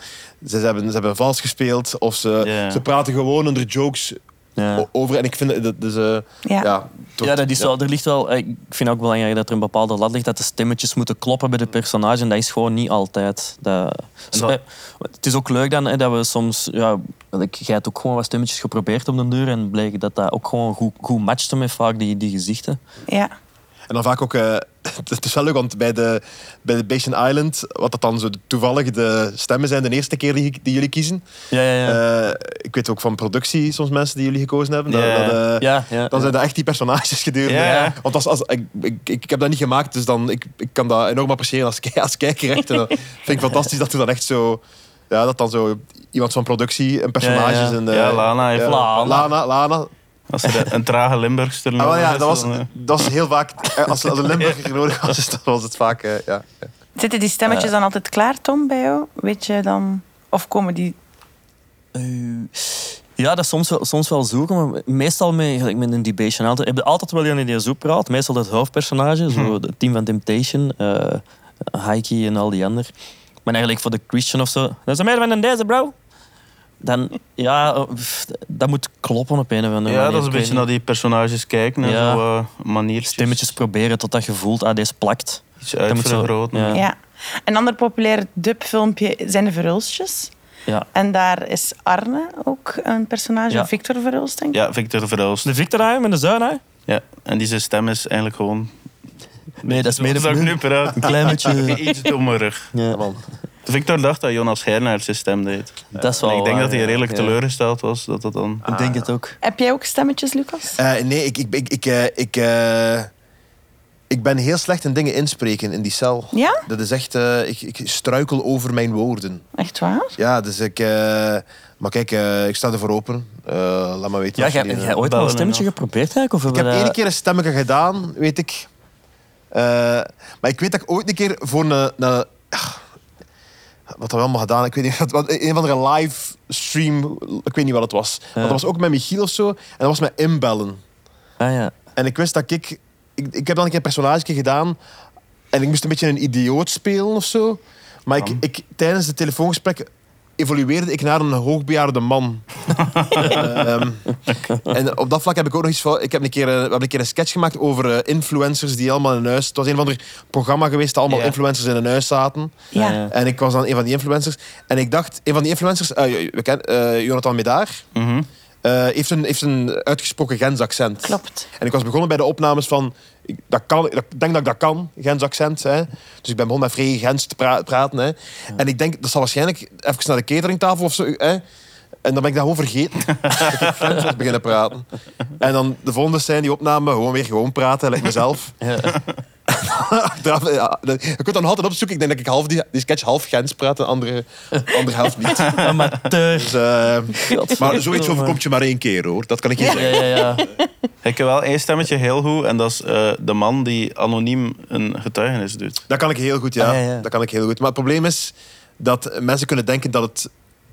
Speaker 5: Ze, ze hebben, ze hebben vals gespeeld of ze,
Speaker 3: Ja.
Speaker 5: ze praten gewoon onder jokes
Speaker 4: Ja.
Speaker 5: o- over. En ik vind... dat Dus, eh,
Speaker 2: Ja.
Speaker 5: ja. Ja,
Speaker 4: Ja, dat is wel, er ligt wel, ik vind ook belangrijk dat er een bepaalde lat ligt, dat de stemmetjes moeten kloppen bij de personage. En dat is gewoon niet altijd. Dat, eh,
Speaker 3: En dat-
Speaker 4: het is ook leuk dan hè, dat we soms, ja, ik, jij hebt ook gewoon wat stemmetjes geprobeerd op de deur en bleek dat dat ook gewoon goed, goed matchte met vaak die, die gezichten.
Speaker 2: ja.
Speaker 5: En dan vaak ook... eh, het is wel leuk, want bij de, bij de Basin Island, wat dat dan zo toevallig de stemmen zijn de eerste keer die, die jullie kiezen,
Speaker 4: Ja, ja, ja.
Speaker 5: Eh, ik weet ook van productie soms mensen die jullie gekozen hebben. Dat,
Speaker 3: Ja.
Speaker 5: dat, eh,
Speaker 4: ja, ja,
Speaker 5: Dan zijn dat echt die personages gedurende.
Speaker 3: Ja.
Speaker 5: Want als, als, ik, ik, ik, ik heb dat niet gemaakt, dus dan, ik, ik kan dat enorm appreciëren als, ki- als kijker. Echt. En dat vind ik fantastisch dat er dan echt zo... Ja, dat dan zo iemand van productie en personages...
Speaker 4: Ja, ja.
Speaker 5: En, eh,
Speaker 3: Ja, Lana heeft-
Speaker 4: Lana.
Speaker 5: Lana, Lana.
Speaker 3: Als er een trage Limburgster
Speaker 5: Ah, wel, ja,
Speaker 3: is,
Speaker 5: dat was,
Speaker 3: dan, eh,
Speaker 5: dat was heel vaak... eh, Als, als een Limburger nodig was, dus dat was het vaak... eh, ja.
Speaker 2: Zitten die stemmetjes
Speaker 5: Eh.
Speaker 2: dan altijd klaar, Tom, bij jou? Weet je dan... Of komen die...
Speaker 4: Eh, ja, dat is soms wel, soms wel zoeken, maar meestal met, gelijk met een debation. Altijd, heb je altijd wel iemand die zo praat. Meestal dat hoofdpersonage, zo
Speaker 3: Hmm.
Speaker 4: het team van Temptation, eh Heike en al die anderen. Maar eigenlijk voor de Christian of zo. Dat is een meer van een deze, bro. Dan, ja, eh, pff, dat moet kloppen op een of andere
Speaker 3: ja,
Speaker 4: manier.
Speaker 3: dat is
Speaker 4: Ik
Speaker 3: een
Speaker 4: weet
Speaker 3: beetje
Speaker 4: niet.
Speaker 3: naar die personages kijken en
Speaker 4: Ja.
Speaker 3: zo eh maniertjes.
Speaker 4: Stemmetjes proberen totdat je voelt, ah, deze plakt.
Speaker 3: Iets uitvergroten.
Speaker 4: Ja.
Speaker 2: Ja. Een ander populair dubfilmpje zijn de Verhulstjes.
Speaker 4: Ja.
Speaker 2: En daar is Arne ook een personage.
Speaker 4: Ja.
Speaker 2: Victor Verhulst, denk ik.
Speaker 3: Ja, Victor Verhulst.
Speaker 4: De Victor hij, met de zuin hij.
Speaker 3: Ja. En die zijn stem is eigenlijk gewoon...
Speaker 4: Nee, dat is mede
Speaker 3: Zoals ik nu praat.
Speaker 4: Een klein beetje...
Speaker 3: Iets dommerig.
Speaker 4: Ja.
Speaker 3: Victor dacht dat Jonas Hernaert zijn stem deed.
Speaker 4: Dat is wel
Speaker 3: En ik denk
Speaker 4: waar,
Speaker 3: dat hij
Speaker 4: Oh, ja.
Speaker 3: redelijk
Speaker 4: Ja. Ah,
Speaker 3: teleurgesteld was. Dat dat dan...
Speaker 4: Ik denk het ook.
Speaker 2: Heb jij ook stemmetjes, Lucas?
Speaker 5: Eh, nee, ik, ik, ik, ik, eh, ik, eh, ik ben heel slecht in dingen inspreken in die cel.
Speaker 2: Ja?
Speaker 5: Dat is echt, eh, ik, ik struikel over mijn woorden.
Speaker 2: Echt waar?
Speaker 5: Ja, dus ik. eh, maar kijk, eh, ik sta ervoor open. Eh, laat maar weten.
Speaker 4: Ja,
Speaker 5: als
Speaker 4: jij,
Speaker 5: jullie, eh,
Speaker 4: jij eh, ooit al
Speaker 3: bellen
Speaker 4: een
Speaker 3: en
Speaker 4: stemmetje
Speaker 3: af.
Speaker 4: geprobeerd eigenlijk? Of
Speaker 5: Ik
Speaker 4: hebben
Speaker 5: heb
Speaker 4: we dat-
Speaker 5: één keer een stemmetje gedaan, weet ik. Eh, maar ik weet dat ik ooit een keer voor een. een- ach, wat hebben we allemaal gedaan? Ik weet niet. wat- wat- Een van de live stream. Ik weet niet wat het was. Maar dat was ook met Michiel of zo. En dat was met inbellen.
Speaker 4: Ah, ja.
Speaker 5: En ik wist dat ik... Ik, ik heb dan een keer een personage gedaan. En ik moest een beetje een idioot spelen of zo. Maar ik, ik, tijdens het telefoongesprek evolueerde ik naar een hoogbejaarde man. Ehm, en op dat vlak heb ik ook nog iets van... Ik heb een keer, eh, we hebben een keer een sketch gemaakt over eh, influencers die allemaal in een huis... Het was een van de programma geweest dat allemaal
Speaker 3: Ja.
Speaker 5: influencers in een huis zaten.
Speaker 2: Ja.
Speaker 4: ja.
Speaker 5: En ik was dan een van die influencers. En ik dacht, een van die influencers... eh, we kennen eh, Jonathan Medaar.
Speaker 3: Mhm.
Speaker 5: Eh, eh, heeft, een, heeft een uitgesproken Gens accent.
Speaker 2: Klopt.
Speaker 5: En ik was begonnen bij de opnames van... Ik, dat kan, ik denk dat ik dat kan, Gens accent. Hè. Dus ik ben begonnen met vrij Gens te pra- praten. Hè. En ik denk, dat zal waarschijnlijk even naar de cateringtafel of zo... Hè. En dan ben ik dat gewoon vergeten. dat ik Frans was beginnen praten. En dan de volgende scène, die opname, gewoon weer gewoon praten, lijkt mezelf. Achteraf, ja, dat- je kunt dan nog altijd opzoeken. Ik denk dat ik half die, die sketch half Gens praat en de andere, andere helft niet.
Speaker 4: Amateur.
Speaker 5: Dus, eh,
Speaker 4: God.
Speaker 5: maar zoiets overkomt je maar één keer, hoor. Dat kan ik je
Speaker 4: Oh, Ja,
Speaker 5: zeggen.
Speaker 4: ja, ja.
Speaker 3: Ik heb wel één stemmetje heel goed en dat is eh, de man die anoniem een getuigenis doet.
Speaker 5: Dat kan ik heel goed, ja.
Speaker 4: Ah, ja, ja.
Speaker 5: Dat kan ik heel goed. Maar het probleem is dat mensen kunnen denken dat, het,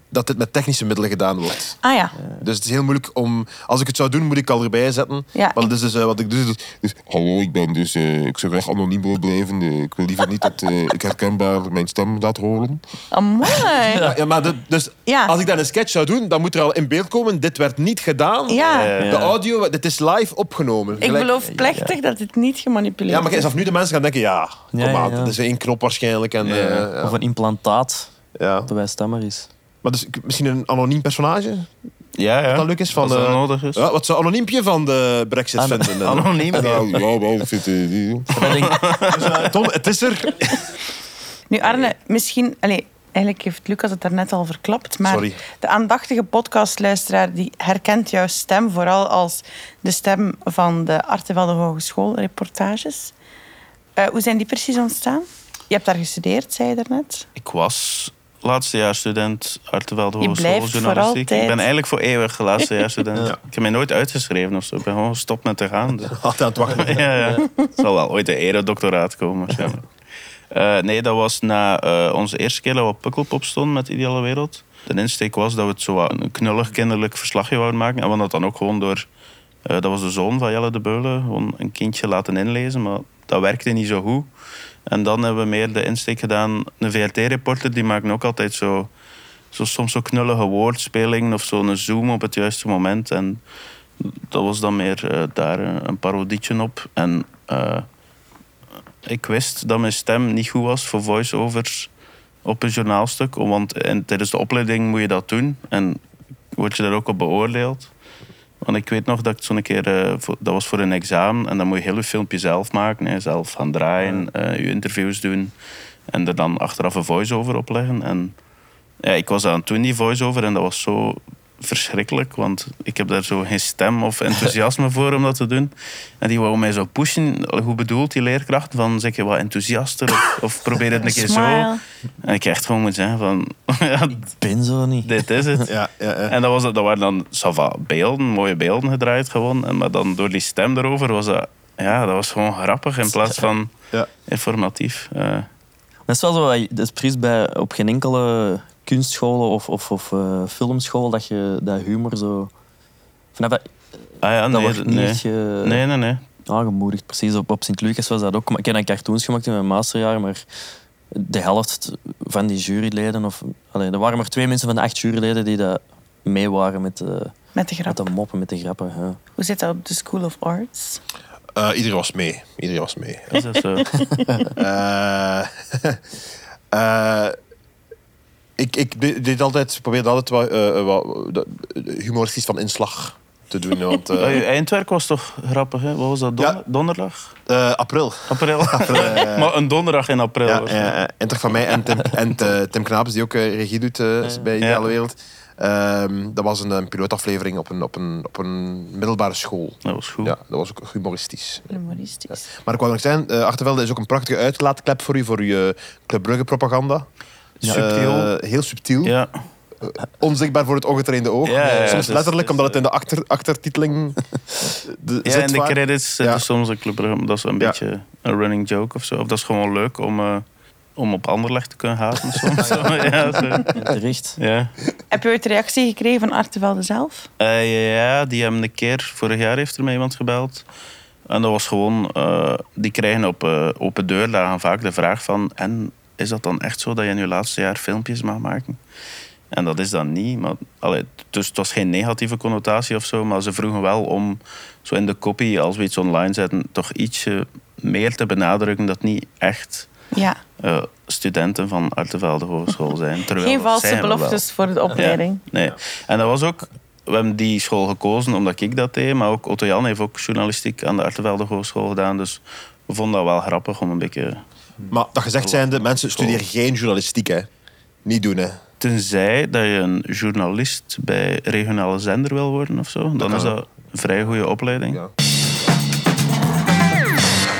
Speaker 5: dat dit met technische middelen gedaan wordt.
Speaker 2: Ah ja.
Speaker 5: Dus het is heel moeilijk om... Als ik het zou doen, moet ik al erbij zetten.
Speaker 2: Ja.
Speaker 5: Maar dat is dus eh, wat ik doe. Dus, dus-
Speaker 10: Hallo, ik ben dus. eh, ik zou graag anoniem willen blijven. Eh, ik wil liever niet dat eh, ik herkenbaar mijn stem laat horen.
Speaker 2: oh, Amai.
Speaker 5: ja, maar dat- dus
Speaker 2: Ja.
Speaker 5: als ik dan een sketch zou doen, dan moet er al in beeld komen... Dit werd niet gedaan. Eh,
Speaker 2: Ja.
Speaker 5: De audio, dit is live opgenomen.
Speaker 2: Ik
Speaker 5: Gelijk-
Speaker 2: beloof plechtig dat het niet gemanipuleerd
Speaker 5: Ja,
Speaker 2: is.
Speaker 5: maar kijk, vanaf nu de mensen gaan denken, ja, kom
Speaker 4: Ja, ja,
Speaker 5: aan,
Speaker 4: ja.
Speaker 5: dat is één knop waarschijnlijk. En, eh, ja,
Speaker 4: Of een implantaat,
Speaker 5: ja.
Speaker 4: dat bij stemmer is.
Speaker 5: Maar dus ik- misschien een anoniem personage,
Speaker 3: Ja, ja.
Speaker 5: dat leuk is. Van,
Speaker 3: Als dat
Speaker 5: eh,
Speaker 3: nodig is.
Speaker 5: Ja, wat zou anoniempje van de brexit
Speaker 4: An-
Speaker 5: vinden? En-
Speaker 3: Anoniem.
Speaker 10: Ja, ja, wel, ik vind eh, die.
Speaker 4: Maar ik denk,
Speaker 5: Dus, eh, Tom, het is er.
Speaker 2: Nu Arne, misschien... Allee, eigenlijk heeft Lucas het daarnet al verklapt, maar
Speaker 5: Sorry.
Speaker 2: de aandachtige podcastluisteraar die herkent jouw stem vooral als de stem van de Arte van de Hogeschool reportages. Eh, hoe zijn die precies ontstaan? Je hebt daar gestudeerd, zei je daarnet.
Speaker 3: Ik was laatste jaar student Artevelde
Speaker 2: Je
Speaker 3: Hogeschool
Speaker 2: blijft voor
Speaker 3: Journalistiek. Ik
Speaker 2: altijd.
Speaker 3: ben eigenlijk voor eeuwig laatste jaar student. Ik heb mij nooit uitgeschreven of zo. Ik ben gewoon gestopt met te gaan. Dus.
Speaker 5: Altijd aan het wachten.
Speaker 3: ja, ja. Het zal wel ooit een eredoctoraat komen waarschijnlijk. Eh, nee, dat was na eh, onze eerste keer dat we op Pukkelpop stonden met Ideale Wereld. De insteek was dat we het zo wat een knullig kinderlijk verslagje wouden maken. En we hadden dat dan ook gewoon door... eh, dat was de zoon van Jelle de Beulen. Gewoon een kindje laten inlezen, maar dat werkte niet zo goed. En dan hebben we meer de insteek gedaan... Een VRT-reporter, die maakt ook altijd zo... zo soms zo knullige woordspelingen of zo'n zoom op het juiste moment. En dat was dan meer eh, daar eh, een parodietje op. En eh, ik wist dat mijn stem niet goed was voor voice-overs op een journaalstuk. Want en tijdens de opleiding moet je dat doen. En word je daar ook op beoordeeld. Want ik weet nog dat ik zo'n keer... eh, voor- dat was voor een examen. En dan moet je heel je filmpje zelf maken. Hè, zelf gaan draaien. eh, je interviews doen. En er dan achteraf een voice-over op leggen. En ja, ik was aan toen die voice-over. En dat was zo verschrikkelijk, want ik heb daar zo geen stem of enthousiasme voor om dat te doen. En die wou mij zo pushen. Hoe bedoelt die leerkracht? Van zeg je wat enthousiaster of, of probeer het een keer zo.
Speaker 2: Smile.
Speaker 3: En ik echt gewoon moet zeggen van, ja,
Speaker 4: ik ben zo niet.
Speaker 3: dit is het.
Speaker 5: Ja, ja, ja.
Speaker 3: En dat, was, dat waren dan sava, beelden, mooie beelden gedraaid gewoon. En, maar dan door die stem erover was dat, ja, dat was gewoon grappig in plaats van
Speaker 5: Ja.
Speaker 3: informatief. Eh,
Speaker 4: Dat is wel zo, wat- dat is precies bij, op geen enkele kunstscholen of, of, of eh, filmschool dat je dat humor zo... Vanaf dat,
Speaker 3: ah ja,
Speaker 4: dat
Speaker 3: nee,
Speaker 4: wordt niet
Speaker 3: nee.
Speaker 4: echt, eh,
Speaker 3: nee, nee, nee.
Speaker 4: aangemoedigd. Ah, Precies, op, op Sint-Lucas was dat ook. Maar Ik heb dan cartoons gemaakt in mijn masterjaar, maar de helft van die juryleden... Of, allee, er waren maar twee mensen van de acht juryleden die dat mee waren met, eh,
Speaker 2: Met de
Speaker 4: met
Speaker 2: grap.
Speaker 4: de moppen, met de grappen. Ja.
Speaker 2: Hoe zit dat op de School of Arts?
Speaker 5: Eh, iedereen was mee. Iedereen was mee.
Speaker 3: Is dat zo?
Speaker 5: Eh, eh, ik ik de- deed altijd, probeerde altijd wat, eh, eh, wat de- humoristisch van inslag te doen. Want, eh,
Speaker 3: Oh, je eindwerk was toch grappig, hè? Wat was dat? Don-
Speaker 5: Ja.
Speaker 3: Donderdag?
Speaker 5: eh, april.
Speaker 3: April. maar een donderdag in april.
Speaker 5: Ja,
Speaker 3: hoor.
Speaker 5: eh, eh, en toch van mij en Tim, en eh, Tim Knaps, die ook eh, regie doet eh, bij Ideale
Speaker 3: Ja.
Speaker 5: Wereld. Ehm, dat was een, eh, pilootaflevering op een, op, een, op een middelbare school.
Speaker 3: Dat was goed.
Speaker 5: Ja, dat was ook humoristisch.
Speaker 2: Humoristisch.
Speaker 5: Maar ik wou nog zeggen, eh Achtervelde is ook een prachtige uitlaatklep voor u, voor uw eh, Club Brugge propaganda.
Speaker 3: Subtiel.
Speaker 5: Eh, heel subtiel.
Speaker 3: Ja.
Speaker 5: Onzichtbaar voor het ongetrainde oog.
Speaker 3: Ja, ja, ja,
Speaker 5: Soms
Speaker 3: dus-
Speaker 5: letterlijk,
Speaker 3: dus,
Speaker 5: omdat het in de achter, achtertiteling de,
Speaker 3: Ja,
Speaker 5: zit
Speaker 3: en de
Speaker 5: waar-
Speaker 3: credits zitten
Speaker 5: Ja.
Speaker 3: soms een club. Brugge, Dat is een
Speaker 5: Ja.
Speaker 3: beetje een running joke of zo. Of dat is gewoon leuk om, eh, om op Anderlecht te kunnen haten soms.
Speaker 5: Ah,
Speaker 3: ja, zo.
Speaker 4: En Terecht.
Speaker 3: ja.
Speaker 2: Heb je ooit reactie gekregen van Artevelde zelf?
Speaker 3: Eh, ja, die hebben een keer, vorig jaar heeft er mij iemand gebeld. En dat was gewoon, eh, die krijgen op eh, open deurdagen vaak de vraag van... En is dat dan echt zo dat je in je laatste jaar filmpjes mag maken? En dat is dan niet. Maar, allee, dus het was geen negatieve connotatie of zo. Maar ze vroegen wel om zo in de copy, als we iets online zetten... toch ietsje meer te benadrukken dat niet echt
Speaker 2: Ja.
Speaker 3: eh, studenten van Artevelde Hogeschool zijn. Terwijl
Speaker 2: Geen
Speaker 3: dat
Speaker 2: valse
Speaker 3: zijn we wel.
Speaker 2: beloftes voor de
Speaker 3: Ja,
Speaker 2: opleiding.
Speaker 3: nee. En dat was ook we hebben die school gekozen omdat ik dat deed. Maar ook Otto Jan heeft ook journalistiek aan de Artevelde Hogeschool gedaan. Dus we vonden dat wel grappig om een beetje...
Speaker 5: Maar dat
Speaker 3: Oh.
Speaker 5: gezegd zijnde, mensen studeren geen journalistiek, hè. Niet doen, hè.
Speaker 3: Tenzij dat je een journalist bij regionale zender wil worden of zo. Dan is dat een vrij goede opleiding.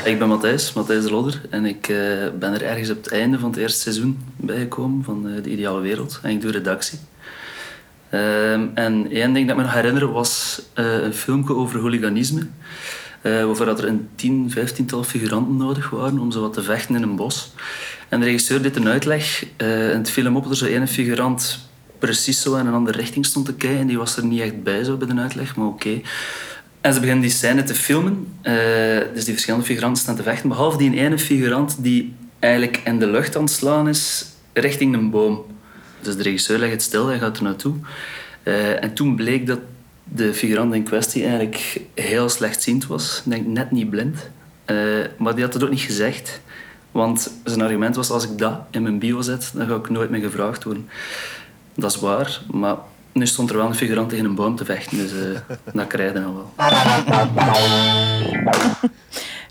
Speaker 11: Ik ben Matthijs, Matthijs de Lodder. En ik eh, ben er ergens op het einde van het eerste seizoen bijgekomen van eh, De Ideale Wereld. En ik doe redactie. Ehm, en één ding dat ik me nog herinner was eh, een filmpje over hooliganisme. eh, waarvoor dat er een tien, vijftiental figuranten nodig waren om zo wat te vechten in een bos. En de regisseur deed een uitleg. eh en het viel hem op dat er zo ene figurant precies zo in een andere richting stond te kijken. En die was er niet echt bij zo bij de uitleg, maar oké. En ze beginnen die scène te filmen. Eh, dus die verschillende figuranten staan te vechten. Behalve die ene figurant die eigenlijk in de lucht aan het slaan is richting een boom. Dus de regisseur legt het stil, hij gaat er naartoe. Eh, en toen bleek dat de figurant in kwestie eigenlijk heel slechtziend was. Ik Denk net niet blind. Eh, maar die had het ook niet gezegd. Want zijn argument was, als ik dat in mijn bio zet, dan ga ik nooit meer gevraagd worden. Dat is waar, maar nu stond er wel een figurant tegen een boom te vechten. Dus eh dat krijg je dan wel.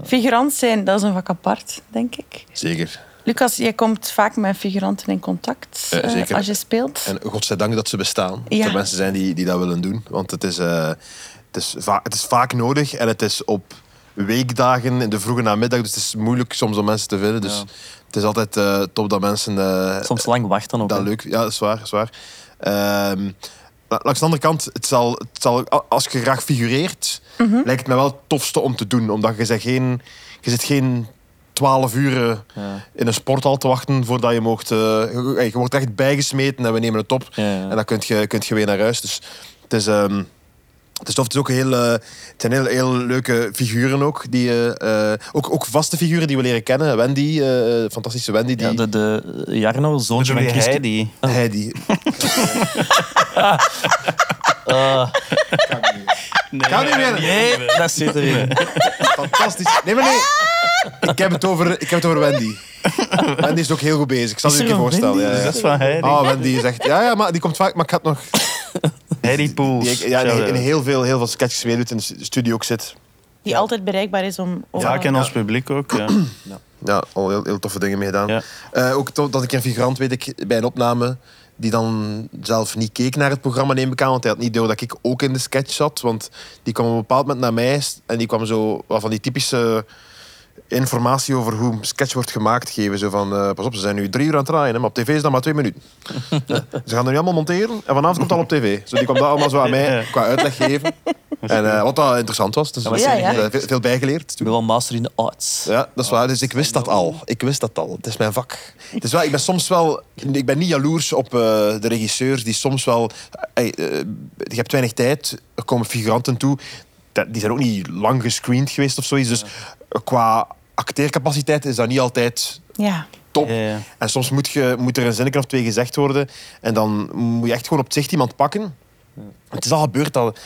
Speaker 2: Figurant zijn, dat is een vak apart, denk ik.
Speaker 5: Zeker.
Speaker 2: Lucas, jij komt vaak met figuranten in contact
Speaker 5: Eh,
Speaker 2: eh,
Speaker 5: zeker.
Speaker 2: als je speelt.
Speaker 5: En godzijdank dat ze bestaan.
Speaker 2: Ja.
Speaker 5: Dat er mensen zijn die, die dat willen doen. Want het is, eh, het, is va- het is vaak nodig en het is op weekdagen in de vroege namiddag. Dus het is moeilijk soms om mensen te vinden. Dus het is altijd eh, top dat mensen... eh,
Speaker 4: Soms lang wachten op.
Speaker 5: dat
Speaker 4: hè.
Speaker 5: leuk. Ja, dat is waar. Dat is waar. Ehm, la- langs de andere kant, het zal, het zal, a- als je graag figureert,
Speaker 4: Mhm.
Speaker 5: lijkt het me wel het tofste om te doen. Omdat je, zegt geen, je zit geen twaalf uur
Speaker 4: Ja.
Speaker 5: in een sporthal te wachten voordat je mocht... eh, je, je wordt echt bijgesmeten en we nemen het op.
Speaker 4: Ja, ja.
Speaker 5: En dan kun je, kunt je weer naar huis. Dus het is, ehm, het is tof. Het, is ook een heel, eh, het zijn heel, heel leuke figuren ook. Die, eh, eh, ook. Ook vaste figuren die we leren kennen. Wendy, eh, fantastische Wendy. Die,
Speaker 4: Ja, de, de eh, Jarno,
Speaker 3: Dus
Speaker 4: zoontje van Chris.
Speaker 3: die?
Speaker 5: Heidi.
Speaker 4: Ah,
Speaker 3: Nee,
Speaker 5: Kan niet meer.
Speaker 4: nee, dat zit erin.
Speaker 5: Fantastisch. Nee, maar nee. Ik heb het over, ik heb het over Wendy. Wendy is ook heel goed bezig. Ik zal
Speaker 4: Is
Speaker 5: het je
Speaker 4: er
Speaker 5: een keer
Speaker 4: een
Speaker 5: voorstellen.
Speaker 4: Wendy?
Speaker 5: Ja, ja.
Speaker 3: Dat is van Heidi.
Speaker 5: Ah, Wendy is echt... Ja, ja, maar die komt vaak... Maar ik had nog...
Speaker 3: Heidi Poels.
Speaker 5: Die, ja, die
Speaker 3: Shout-out.
Speaker 5: in heel veel, heel veel sketches meedoet en in de studio ook zit.
Speaker 2: Die altijd bereikbaar is om... om-
Speaker 3: Vaak in ons publiek ook, ja.
Speaker 5: Ja, al heel, heel toffe dingen mee gedaan.
Speaker 3: Ja.
Speaker 5: Eh, ook to- dat ik een figurant, weet ik, bij een opname... die dan zelf niet keek naar het programma, neem ik aan. Want hij had niet door dat ik ook in de sketch zat. Want die kwam op een bepaald moment naar mij... en die kwam zo wat van die typische informatie over hoe een sketch wordt gemaakt geven. Zo van, eh, pas op, ze zijn nu drie uur aan het draaien, hè, maar op tv is dat maar twee minuten. ze gaan er nu allemaal monteren en vanavond komt het al op tv. Zo, die kwam dat allemaal zo aan mij qua uitleg geven. En eh, wat dat interessant was. Dus
Speaker 4: was
Speaker 5: ik
Speaker 2: Ja,
Speaker 5: heb,
Speaker 2: ja.
Speaker 5: eh, veel, veel bijgeleerd.
Speaker 4: Ik ben wel master in de arts.
Speaker 5: Ja, dat is waar. Dus ik wist dat al. Ik wist dat al. Het is mijn vak. Het is wel, ik ben soms wel... Ik ben niet jaloers op eh, de regisseurs die soms wel... eh, eh, je hebt weinig tijd. Er komen figuranten toe. Dat- Die zijn ook niet lang gescreend geweest of zoiets. Dus eh, qua acteercapaciteit is dat niet altijd
Speaker 2: Ja.
Speaker 5: top.
Speaker 3: Ja, ja.
Speaker 5: En soms moet, je, moet er een zinnetje of twee gezegd worden. En dan moet je echt gewoon op zicht iemand pakken. Het is al gebeurd dat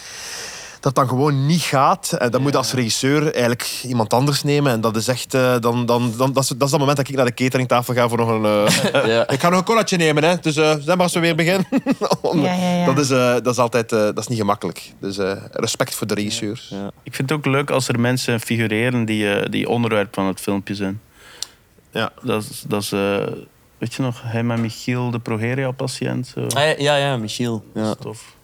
Speaker 5: dat dan gewoon niet gaat. En dan moet je als regisseur eigenlijk iemand anders nemen. En dat is echt... eh, dan, dan, dan, dat, is, dat is het moment dat ik naar de cateringtafel ga voor nog een... eh,
Speaker 4: Ja.
Speaker 5: ik ga nog een colaatje nemen, hè. Dus eh zeg maar als we weer beginnen. Om-
Speaker 2: Ja, ja, ja.
Speaker 5: Dat, is, eh, dat is altijd... eh, dat is niet gemakkelijk. Dus eh, respect voor de regisseurs.
Speaker 3: Ik vind het ook leuk als er mensen figureren die, eh, die onderwerp van het filmpje zijn.
Speaker 5: Ja.
Speaker 3: Dat is, dat is eh, weet je nog, hij met Michiel, de progeria-patiënt. Zo.
Speaker 4: Ah, ja, ja, ja, Michiel.
Speaker 3: Dat
Speaker 4: Ja,
Speaker 3: is tof.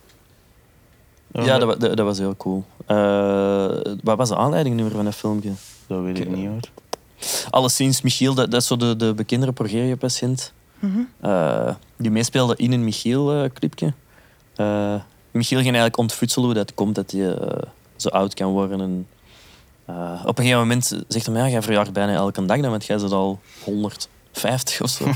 Speaker 4: ja dat, wa- dat, dat was heel cool. Eh, wat was de aanleiding nu weer van dat filmpje?
Speaker 3: dat weet ik niet hoor.
Speaker 4: Alleszins, Michiel, dat, dat is zo de, de bekendere progeria-patiënt. Eh, die meespeelde in een Michiel-clipje. Eh, Michiel ging eigenlijk ontfutselen hoe dat komt dat hij eh, zo oud kan worden. En, eh, op een gegeven moment zegt hij, ja, jij verjaart bijna elke dag, dan want jij zit al 150 of zo. en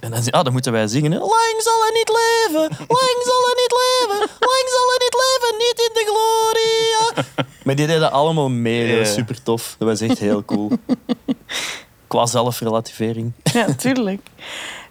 Speaker 4: dan, zegt hij, ah, dan moeten wij zingen. hè. Lang zal hij niet leven, lang zal hij niet leven, lang zal hij niet leven, niet in de gloria. maar die deden allemaal mee, dat was
Speaker 3: Ja.
Speaker 4: super tof. Dat was echt heel cool. Qua zelfrelativering.
Speaker 2: Ja, tuurlijk.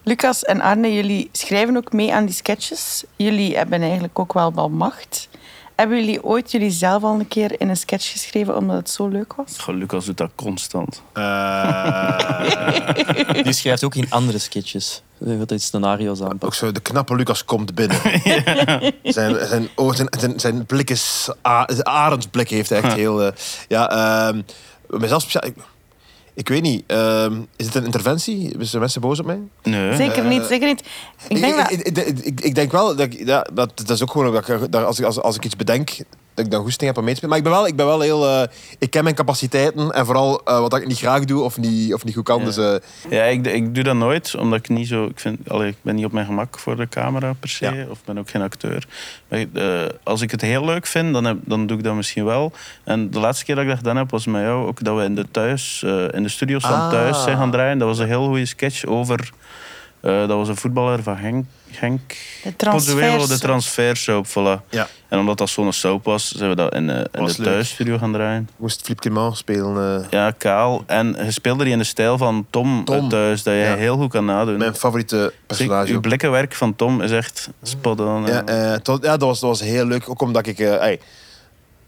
Speaker 2: Lucas en Arne, jullie schrijven ook mee aan die sketches. Jullie hebben eigenlijk ook wel wel macht. Hebben jullie ooit jullie zelf al een keer in een sketch geschreven omdat het zo leuk was?
Speaker 3: Lucas doet dat constant.
Speaker 5: Eh,
Speaker 4: Die schrijft ook in andere sketches. Die gaat dit scenario's aan.
Speaker 5: Ook zo, de knappe Lucas komt binnen. zijn, zijn, oor- zijn, zijn, zijn blik is... a- Zijn arendsblik heeft hij echt heel... eh, ja, ehm mezelf speciaal... Ik, ik weet niet, ehm, is dit een interventie? Zijn mensen boos op mij?
Speaker 3: Nee.
Speaker 2: Zeker niet,
Speaker 5: Eh,
Speaker 2: zeker niet. Ik denk dat...
Speaker 5: ik, ik, ik- ik denk wel, dat, ik- ja, dat, dat is ook gewoon dat ik, daar- als, ik, als, als ik iets bedenk, dat ik dan goesting heb om mee te spelen. Maar ik ben wel, ik ben wel heel... eh, ik ken mijn capaciteiten en vooral eh, wat ik niet graag doe of niet, of niet goed kan.
Speaker 3: Ja.
Speaker 5: Dus, eh,
Speaker 3: Ja, ik, ik doe dat nooit, omdat ik niet zo... Ik, vind, allee, ik ben niet op mijn gemak voor de camera per se, of ben ook geen acteur. Maar eh, als ik het heel leuk vind, dan, heb- dan doe ik dat misschien wel. En de laatste keer dat ik dat gedaan heb, was met jou ook dat we in de, thuis, eh, in de studios van
Speaker 5: Ah.
Speaker 3: thuis zijn gaan draaien. Dat was een heel goede sketch over... eh, dat was een voetballer van Henk... Henk
Speaker 2: De
Speaker 3: Pozuelo, de
Speaker 2: transfers.
Speaker 3: transfersoap, voilà.
Speaker 5: ja,
Speaker 3: En omdat dat zo'n soap was, zijn we dat in, eh, in
Speaker 5: Was
Speaker 3: de
Speaker 5: leuk.
Speaker 3: thuisstudio gaan draaien.
Speaker 5: moest Flip Clément spelen. eh,
Speaker 3: Ja, kaal. En je speelde die in de stijl van Tom,
Speaker 5: Tom.
Speaker 3: eh, thuis, dat jij
Speaker 5: Ja.
Speaker 3: heel goed kan nadoen.
Speaker 5: mijn favoriete
Speaker 3: Zeker,
Speaker 5: personage.
Speaker 3: uw
Speaker 5: ook.
Speaker 3: blikkenwerk van Tom is echt spot on.
Speaker 5: Ja, eh, het was- ja dat, was, dat was heel leuk. Ook omdat ik eh, ey,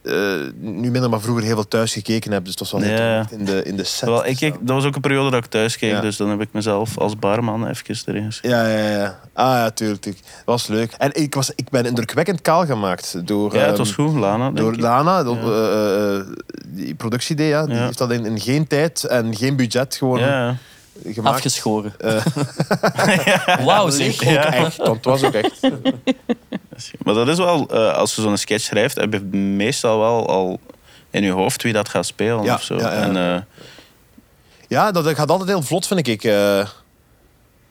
Speaker 5: eh, nu minder, maar vroeger heel veel thuis gekeken heb. Dus het was wel heel
Speaker 3: Ja.
Speaker 5: tof om echt in de, in de set.
Speaker 3: Terwijl
Speaker 5: te
Speaker 3: ik, keek-
Speaker 5: staan.
Speaker 3: dat was ook een periode dat ik thuis keek,
Speaker 5: Ja.
Speaker 3: dus dan heb ik mezelf als barman even erin geschreven.
Speaker 5: Ja, ja, ja. Ah, ja, tuurlijk, tuurlijk. Dat was leuk. En ik, was, ik ben indrukwekkend kaal gemaakt door...
Speaker 3: Ja, het
Speaker 5: ehm,
Speaker 3: was goed, Lana.
Speaker 5: Door
Speaker 3: Door
Speaker 5: Lana, dat- eh, eh, die productie ja, die
Speaker 3: Ja.
Speaker 5: heeft dat in, in geen tijd en geen budget gewoon
Speaker 3: ja.
Speaker 5: gemaakt.
Speaker 4: Afgeschoren.
Speaker 5: Eh.
Speaker 4: Wauw, zeg.
Speaker 5: Ook echt, want het was ook echt.
Speaker 3: Maar dat is wel, eh, als je zo'n sketch schrijft, heb je meestal wel al in je hoofd wie dat gaat spelen
Speaker 5: Ja,
Speaker 3: of zo.
Speaker 5: ja, ja.
Speaker 3: En, eh,
Speaker 5: Ja, dat, dat gaat altijd heel vlot, vind ik. eh.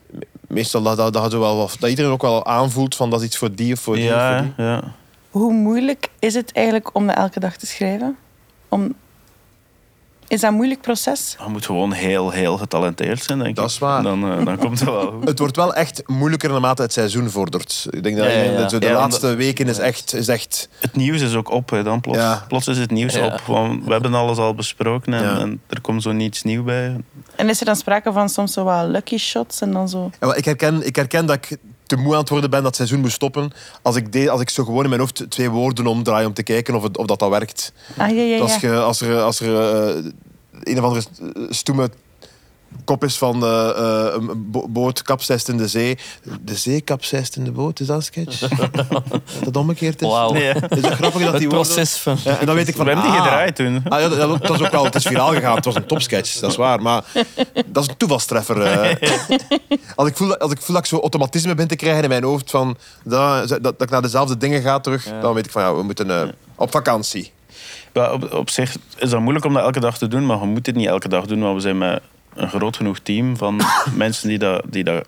Speaker 5: me- meestal dat, dat, dat, gaat zo wel, wat- dat iedereen ook wel aanvoelt van dat is iets voor die of voor die. of voor
Speaker 3: ja,
Speaker 5: die.
Speaker 3: ja.
Speaker 2: Hoe moeilijk is het eigenlijk om dat elke dag te schrijven? Om... Is dat een moeilijk proces?
Speaker 3: Je moet gewoon heel, heel getalenteerd zijn, denk ik.
Speaker 5: Dat is waar.
Speaker 3: Dan, eh, dan komt het wel goed.
Speaker 5: Het wordt wel echt moeilijker naarmate het seizoen vordert. Ik denk dat
Speaker 4: Ja, ja,
Speaker 5: iedereen-
Speaker 4: ja.
Speaker 5: zo de
Speaker 3: Ja,
Speaker 5: laatste weken is echt, is echt...
Speaker 3: Het nieuws is ook op, hè, dan plots.
Speaker 5: Ja.
Speaker 3: Plots is het nieuws
Speaker 4: Ja.
Speaker 3: op. Want we hebben alles al besproken en,
Speaker 5: Ja.
Speaker 3: en er komt zo niets nieuw bij.
Speaker 2: En is er dan sprake van soms zo wat lucky shots en dan zo...
Speaker 5: Ja, maar ik, herken, ik herken dat ik te moe aan het worden ben dat het seizoen moet stoppen. Als ik, deed, als ik zo gewoon in mijn hoofd twee woorden omdraai om te kijken of, het, of dat, dat werkt.
Speaker 2: Ah, ja, ja, ja.
Speaker 5: Als, je, als er, als er eh, een of andere eh, stoeme kop is van eh, eh, een bo- boot kapseist in de zee. De zee kapseist in de boot, is dat een sketch? dat omgekeerd is.
Speaker 4: Wauw.
Speaker 3: Ja.
Speaker 5: Het is ook grappig dat
Speaker 4: Het
Speaker 5: die woorden...
Speaker 4: proces van...
Speaker 5: Ja, en dan weet ik
Speaker 3: We
Speaker 5: van...
Speaker 3: hebben die
Speaker 5: ah,
Speaker 3: gedraaid toen.
Speaker 5: Ah, ja, dat, dat- dat is ook wel, het is viraal gegaan. Het was een topsketch, dat is waar. Maar dat is een toevalstreffer. eh. Als, ik voel, dat- als ik voel dat ik zo automatisme ben te krijgen in mijn hoofd, van, dat, dat, dat ik naar dezelfde dingen ga terug, dan weet ik van ja, we moeten eh, op vakantie.
Speaker 3: Maar op, op zich is dat moeilijk om dat elke dag te doen, maar je moet het niet elke dag doen, want we zijn met een groot genoeg team van mensen die dat, die dat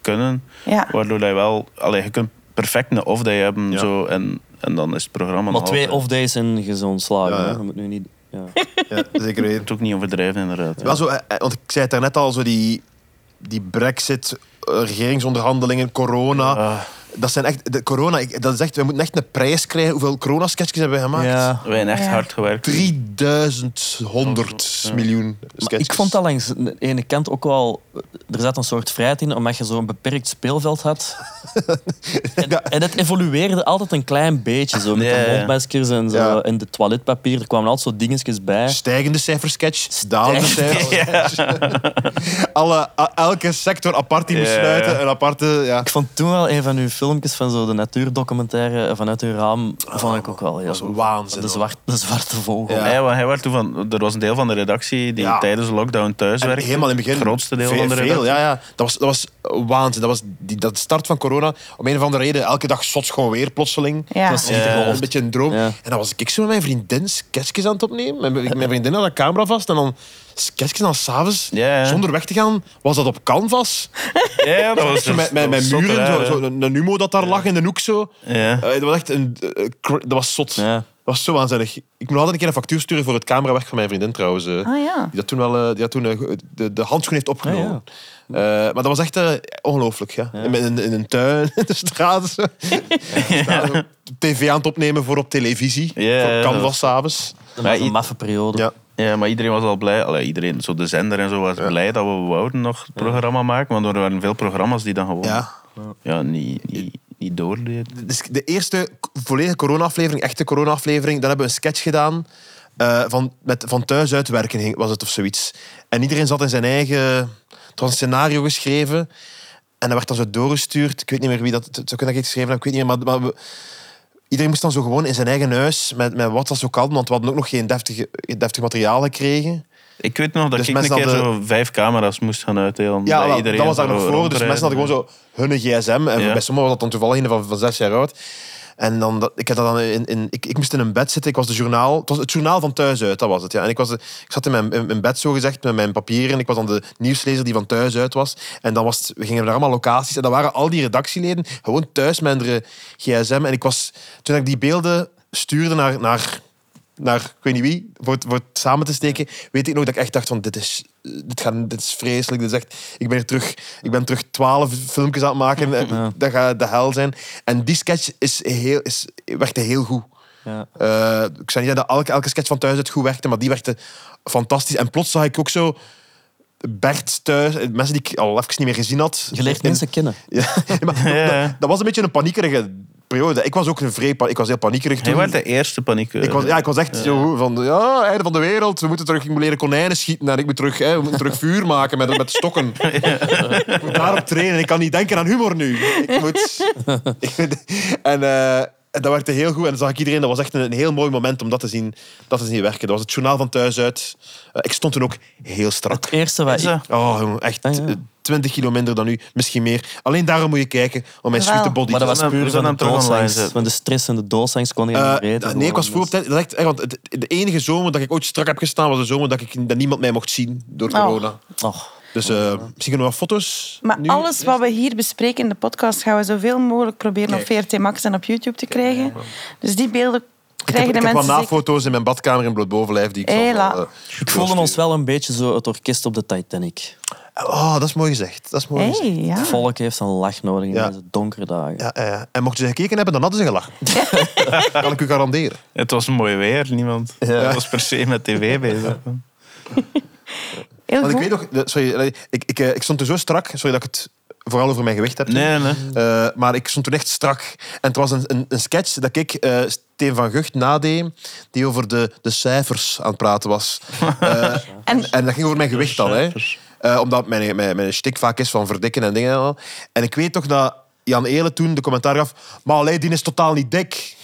Speaker 3: kunnen.
Speaker 2: ja.
Speaker 3: Waardoor dat je wel... Allee, je kunt perfect een off-day hebben
Speaker 5: Ja.
Speaker 3: zo, en, en dan is het programma
Speaker 4: Maar
Speaker 3: nog
Speaker 4: twee
Speaker 3: altijd-
Speaker 4: off-days en gezond slagen.
Speaker 5: Ja,
Speaker 4: hè.
Speaker 5: ja.
Speaker 4: Je moet nu niet... Ja.
Speaker 5: Ja, zeker
Speaker 3: Je
Speaker 5: weten.
Speaker 3: moet het ook niet overdrijven, inderdaad.
Speaker 5: Wel zo, eh, eh, want ik zei het daarnet al, zo die, die brexit, eh, regeringsonderhandelingen, corona.
Speaker 3: Ah,
Speaker 5: Dat zijn echt, de corona, ik- dat is echt, we moeten echt een prijs krijgen. Hoeveel corona-sketchjes hebben we gemaakt?
Speaker 4: Ja.
Speaker 3: we hebben echt
Speaker 2: Ja.
Speaker 3: hard gewerkt.
Speaker 5: 3100 miljoen
Speaker 4: Maar
Speaker 5: sketches.
Speaker 4: ik vond dat langs de ene kant ook wel... Er zat een soort vrijheid in, omdat je zo'n beperkt speelveld had. en, en het evolueerde altijd een klein beetje. Zo, met
Speaker 3: Ja, ja.
Speaker 4: de mondmaskers en, zo,
Speaker 5: Ja.
Speaker 4: en de toiletpapier. Er kwamen altijd zo dingetjes bij.
Speaker 5: Stijgende cijfersketch, dalende cijfers.
Speaker 3: Ja.
Speaker 5: Alle, a- elke sector apart die moest
Speaker 3: Ja.
Speaker 5: sluiten. Een aparte, ja.
Speaker 4: Ik vond toen wel een van uw filmpjes van zo de natuurdocumentaire vanuit uw raam. vond ik ook wel heel
Speaker 5: dat is
Speaker 4: goed.
Speaker 5: waanzin,
Speaker 4: De,
Speaker 5: hoor.
Speaker 4: zwart, de zwarte vogel.
Speaker 5: Ja.
Speaker 3: Ja, want hij werd toen van, er was een deel van de redactie die
Speaker 5: Ja.
Speaker 3: tijdens lockdown thuis
Speaker 5: En
Speaker 3: werkte.
Speaker 5: helemaal in het begin.
Speaker 3: Het grootste deel
Speaker 5: Ve-
Speaker 3: van de
Speaker 5: veel,
Speaker 3: redactie.
Speaker 5: ja, ja. Dat was, dat was waanzin. Dat was die, dat start van corona. Om een of andere reden, elke dag zots gewoon weer plotseling.
Speaker 2: Ja.
Speaker 4: Dat is
Speaker 3: Ja.
Speaker 4: niet
Speaker 5: Dat was
Speaker 4: gewoon.
Speaker 5: een beetje een droom.
Speaker 4: Ja.
Speaker 5: En dan was ik zo met mijn vriendin sketchjes aan het opnemen. Mijn, mijn vriendin had een camera vast en dan sketchjes dan s'avonds,
Speaker 3: Ja, ja.
Speaker 5: zonder weg te gaan, was dat op canvas.
Speaker 3: Ja, Oh, dat was dus
Speaker 5: Zo met, met, met
Speaker 3: zot,
Speaker 5: muren,
Speaker 3: hè,
Speaker 5: zo,
Speaker 3: ja.
Speaker 5: zo, een, een humo dat daar lag in de hoek zo.
Speaker 3: Ja.
Speaker 5: Eh, dat was echt een... eh, eh, cra- dat was zot.
Speaker 4: Ja.
Speaker 5: Dat was zo waanzinnig. Ik moet nog altijd een keer een factuur sturen voor het camerawerk van mijn vriendin trouwens. eh.
Speaker 2: Ah ja.
Speaker 5: Die dat toen wel eh, die dat toen, eh, de, de handschoen heeft opgenomen.
Speaker 4: Ah,
Speaker 5: Eh, maar dat was echt eh, ongelooflijk. Ja. In, in, in een tuin, in de straat. zo. Straat, op TV aan het opnemen voor op televisie.
Speaker 3: Ja, ja,
Speaker 5: voor
Speaker 3: dat
Speaker 5: Canvas
Speaker 3: was-
Speaker 5: s'avonds.
Speaker 4: Dat was een maffe periode.
Speaker 5: Ja.
Speaker 3: Ja, maar iedereen was al blij. Allee, iedereen, zo de zender en zo, was blij dat we wouden nog het programma maken. Want er waren veel programma's die dan gewoon...
Speaker 5: Ja.
Speaker 3: Ja, niet... niet niet doorleed.
Speaker 5: Dus de eerste k- volledige corona-aflevering, echte corona-aflevering, dan hebben we een sketch gedaan eh, van, met, van thuis uit werken, ging- was het of zoiets. En iedereen zat in zijn eigen... Er was een scenario geschreven en dat werd dan zo doorgestuurd. Ik weet niet meer wie dat... Het zou kunnen dat ik het geschreven heb, ik weet niet meer, maar... maar we- Iedereen moest dan zo gewoon in zijn eigen huis, met, met wat dat zo kan, want we hadden ook nog geen deftig, deftig materiaal gekregen.
Speaker 3: Ik weet nog dat
Speaker 5: Dus
Speaker 3: ik een
Speaker 5: mensen
Speaker 3: keer
Speaker 5: hadden-
Speaker 3: zo vijf camera's moest gaan uitdelen.
Speaker 5: Ja,
Speaker 3: bij
Speaker 5: wel,
Speaker 3: iedereen
Speaker 5: dat was daar
Speaker 3: zo
Speaker 5: nog voor. Dus
Speaker 3: rondrijden.
Speaker 5: mensen hadden gewoon zo hun gsm. En
Speaker 3: Ja.
Speaker 5: bij sommigen was dat dan toevallig een van, van zes jaar oud. En dan, dat- ik, had dat dan in, in, ik, ik moest in een bed zitten. Ik was de journaal, het was het journaal van thuis uit, dat was het. Ja. En ik, was, de- ik zat in mijn, in mijn bed, zo gezegd, met mijn papieren. Ik was dan de nieuwslezer die van thuis uit was. En dan was het- we gingen naar allemaal locaties. En dan waren al die redactieleden gewoon thuis met hun gsm. En ik was, toen ik die beelden stuurde naar, naar, naar ik weet niet wie, voor het, voor het samen te steken, weet ik nog dat ik echt dacht van, dit is, eh, dit gaat, dit is vreselijk. Dit is echt, ik ben er terug, ik ben terug twaalf filmpjes aan het maken. en Dat gaat de hel zijn. En die sketch is heel, is, werkte heel goed.
Speaker 4: Ja.
Speaker 5: Eh, ik zei niet dat elke, elke sketch van thuis uit goed werkte, maar die werkte fantastisch. En plots zag ik ook zo Bert thuis, eh, mensen die ik al even niet meer gezien had.
Speaker 4: Je leert
Speaker 5: In-
Speaker 4: mensen kennen.
Speaker 5: Ja, maar dat, dat was een beetje een paniekerige periode. Ik was ook een vrij, pa- ik was heel paniekerig toen.
Speaker 3: Jij werd de eerste paniek.
Speaker 5: Ik was, ja, ik was echt zo van, ja, einde van de wereld. We moeten terug, ik moet leren konijnen schieten. En ik moet terug, hè, we moeten terug vuur maken met, met stokken. Ik moet daarop trainen. Ik kan niet denken aan humor nu. Ik moet... en eh, en dat werkte heel goed. En dan zag ik iedereen. Dat was echt een, een heel mooi moment om dat te zien, dat te zien werken. Dat was het journaal van thuis uit. Eh, ik stond toen ook heel strak.
Speaker 4: Het eerste wat ik...
Speaker 5: Oh, jongen, echt
Speaker 4: Ah, ja.
Speaker 5: eh, 20 kilo minder dan u. Misschien meer. Alleen daarom moet je kijken om mijn
Speaker 2: Wel.
Speaker 5: sweet body
Speaker 4: Maar
Speaker 5: te
Speaker 4: dat was
Speaker 3: hem-
Speaker 4: puur
Speaker 3: we gaan
Speaker 4: van de
Speaker 3: hem terug online
Speaker 4: doodsangst.
Speaker 3: zetten.
Speaker 4: Van de stress en de doodsangst kon je
Speaker 5: Eh,
Speaker 4: niet weten.
Speaker 5: nee, ik was
Speaker 4: gewoon.
Speaker 5: vroeg op tijd. dat is echt- echt, want het- de enige zomer dat ik ooit strak heb gestaan was de zomer dat, ik, dat niemand mij mocht zien door
Speaker 2: Oh.
Speaker 5: corona.
Speaker 4: Och.
Speaker 5: Dus eh, misschien kunnen we wat foto's.
Speaker 2: Maar
Speaker 5: nu.
Speaker 2: alles wat we hier bespreken in de podcast gaan we zoveel mogelijk proberen op VRT Max en op YouTube te krijgen. Dus die beelden
Speaker 5: Ik heb,
Speaker 2: krijgen de
Speaker 5: ik heb wat
Speaker 2: mensen zeker-
Speaker 5: nafoto's in mijn badkamer in bloot bovenlijf die ik zal,
Speaker 2: Hela.
Speaker 5: eh,
Speaker 4: Ik voelde ons wel een beetje zo het orkest op de Titanic.
Speaker 5: Oh, dat is mooi gezegd. Dat is mooi gezegd.
Speaker 2: Hey, ja.
Speaker 4: Het volk heeft een lach nodig in
Speaker 5: Ja.
Speaker 4: deze donkere dagen.
Speaker 5: Ja, eh, en mochten ze gekeken hebben, dan hadden ze gelachen. kan ik u garanderen.
Speaker 3: Het was mooi weer, niemand Het was per se met tv bezig.
Speaker 2: Heel
Speaker 5: Want ik
Speaker 2: goed.
Speaker 5: weet nog, eh, sorry, eh, ik, ik, eh, ik stond toen zo strak, sorry dat ik het vooral over mijn gewicht heb.
Speaker 3: Nee, nee.
Speaker 5: Eh, maar ik stond toen echt strak. En het was een, een, een sketch dat ik eh Steen van Gucht nadeed, die over de, de cijfers aan het praten was. Eh,
Speaker 2: En-
Speaker 5: en, dat ging over mijn gewicht dan. Hè. Eh, omdat mijn, mijn, mijn stik vaak is van verdikken en dingen. en al. En ik weet toch dat Jan Eelen toen de commentaar gaf... Maar allee, die is totaal niet dik.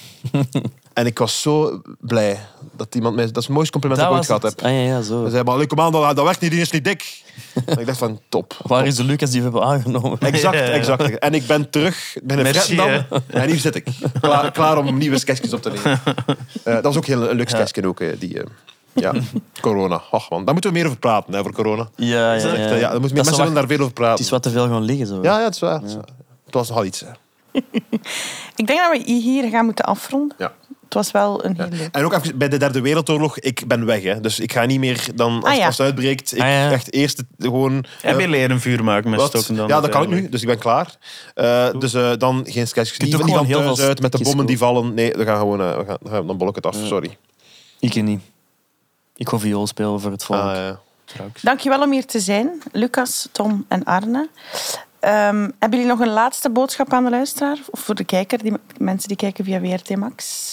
Speaker 5: en ik was zo blij dat iemand mij... Dat is het mooiste compliment dat, ik ooit gehad
Speaker 4: het.
Speaker 5: heb.
Speaker 4: Ah, ja, ja,
Speaker 5: Ze
Speaker 4: zo.
Speaker 5: zei maar, allee, kom aan, dat, dat werkt niet, die is niet dik. en ik dacht van, top.
Speaker 4: Waar is de Lucas die we hebben aangenomen?
Speaker 5: Exact,
Speaker 3: Ja.
Speaker 5: exact. En ik ben terug binnen
Speaker 3: Merci,
Speaker 5: Vrettendam. En hier zit ik. Klaar, klaar om nieuwe sketchjes op te nemen. Eh, dat was ook heel, een leuk sketchje ook, eh, die... eh, ja, corona. Och man, daar moeten we meer over praten, hè, over corona.
Speaker 4: Ja, ja,
Speaker 5: Dat is echt,
Speaker 4: ja.
Speaker 5: eh, ja, daar moeten meer
Speaker 4: is
Speaker 5: mensen
Speaker 4: wat-
Speaker 5: willen daar veel over praten.
Speaker 4: Het is wat te veel gaan liggen. Zo.
Speaker 5: Ja, ja, het is waar. het is waar. Het was nogal iets. hè.
Speaker 2: Ik denk dat we hier gaan moeten afronden.
Speaker 5: Ja.
Speaker 2: Het was wel een heel leuk.
Speaker 5: En ook even bij de Derde Wereldoorlog, ik ben weg. Hè. Dus ik ga niet meer dan als,
Speaker 2: Ah, ja.
Speaker 5: als het uitbreekt. Ik
Speaker 4: Ah, ja.
Speaker 5: echt eerst het- gewoon.
Speaker 3: Heb je
Speaker 5: eh,
Speaker 3: leren vuur maken met
Speaker 5: wat?
Speaker 3: stokken dan?
Speaker 5: ja, dat kan ik nu,
Speaker 3: uiteindelijk?
Speaker 5: dus ik ben klaar. Eh, dus eh, dan geen sketchjes.
Speaker 4: kunt
Speaker 5: Niet,
Speaker 4: ook
Speaker 5: niet van
Speaker 4: gewoon heel
Speaker 5: thuis
Speaker 4: veel
Speaker 5: uit met de
Speaker 4: sketchjes
Speaker 5: bommen die vallen. Nee, we gaan gewoon, eh, we gaan, we gaan- dan blok het af. Sorry.
Speaker 4: Ik niet. Ik ga viool spelen voor het volk.
Speaker 5: Ah, ja.
Speaker 2: Dankjewel om hier te zijn, Lucas, Tom en Arne. Ehm, hebben jullie nog een laatste boodschap aan de luisteraar? Of voor de kijker, die mensen die kijken via WRT Max?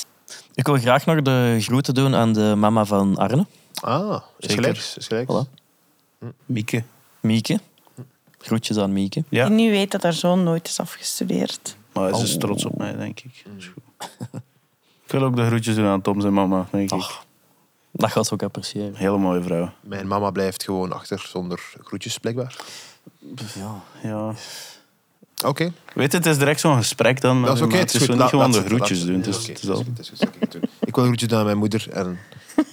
Speaker 4: Ik wil graag nog de groeten doen aan de mama van Arne,
Speaker 5: ah is
Speaker 3: Zeker.
Speaker 5: gelijk. Is gelijk.
Speaker 4: Voilà.
Speaker 3: Mieke.
Speaker 4: Mieke. Groetjes aan Mieke.
Speaker 3: Ja.
Speaker 5: Mm.
Speaker 2: Die nu weet dat haar zoon nooit is afgestudeerd.
Speaker 3: Maar ze is trots op mij, denk ik. Dat is goed. Ik wil ook de groetjes doen aan Tom zijn mama, denk ik.
Speaker 4: Dat gaat ze ook appreciëren.
Speaker 3: Hele mooie vrouw.
Speaker 5: Mijn mama blijft gewoon achter zonder groetjes, blijkbaar.
Speaker 3: Ja.
Speaker 5: Oké,
Speaker 3: Weet je, het is direct zo'n gesprek dan. eh,
Speaker 5: dat is oké.
Speaker 3: maar
Speaker 5: het
Speaker 3: Het
Speaker 5: is
Speaker 3: is
Speaker 5: goed.
Speaker 3: zo niet
Speaker 5: Laat-
Speaker 3: gewoon
Speaker 5: laat
Speaker 3: de
Speaker 5: zitten,
Speaker 3: groetjes
Speaker 5: laat-
Speaker 3: doen.
Speaker 5: nee,
Speaker 3: Het is,
Speaker 5: oké,
Speaker 3: het is al-
Speaker 5: goed, het is goed, dat kan ik doen. Ik wil groetjes doen aan mijn moeder en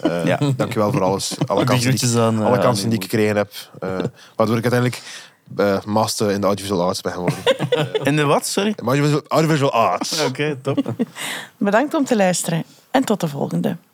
Speaker 5: eh
Speaker 3: Ja.
Speaker 5: dankjewel voor alles. Alle
Speaker 4: Ook die
Speaker 5: kansen die,
Speaker 4: groetjes aan, eh,
Speaker 5: alle
Speaker 4: aan
Speaker 5: kansen
Speaker 4: uw
Speaker 5: die ik gekregen heb. eh, waardoor ik uiteindelijk eh, master in de audiovisual arts ben geworden.
Speaker 3: En de wat, sorry?
Speaker 5: Maar audiovisual, audiovisual arts.
Speaker 3: Oké, top.
Speaker 2: Bedankt om te luisteren en tot de volgende.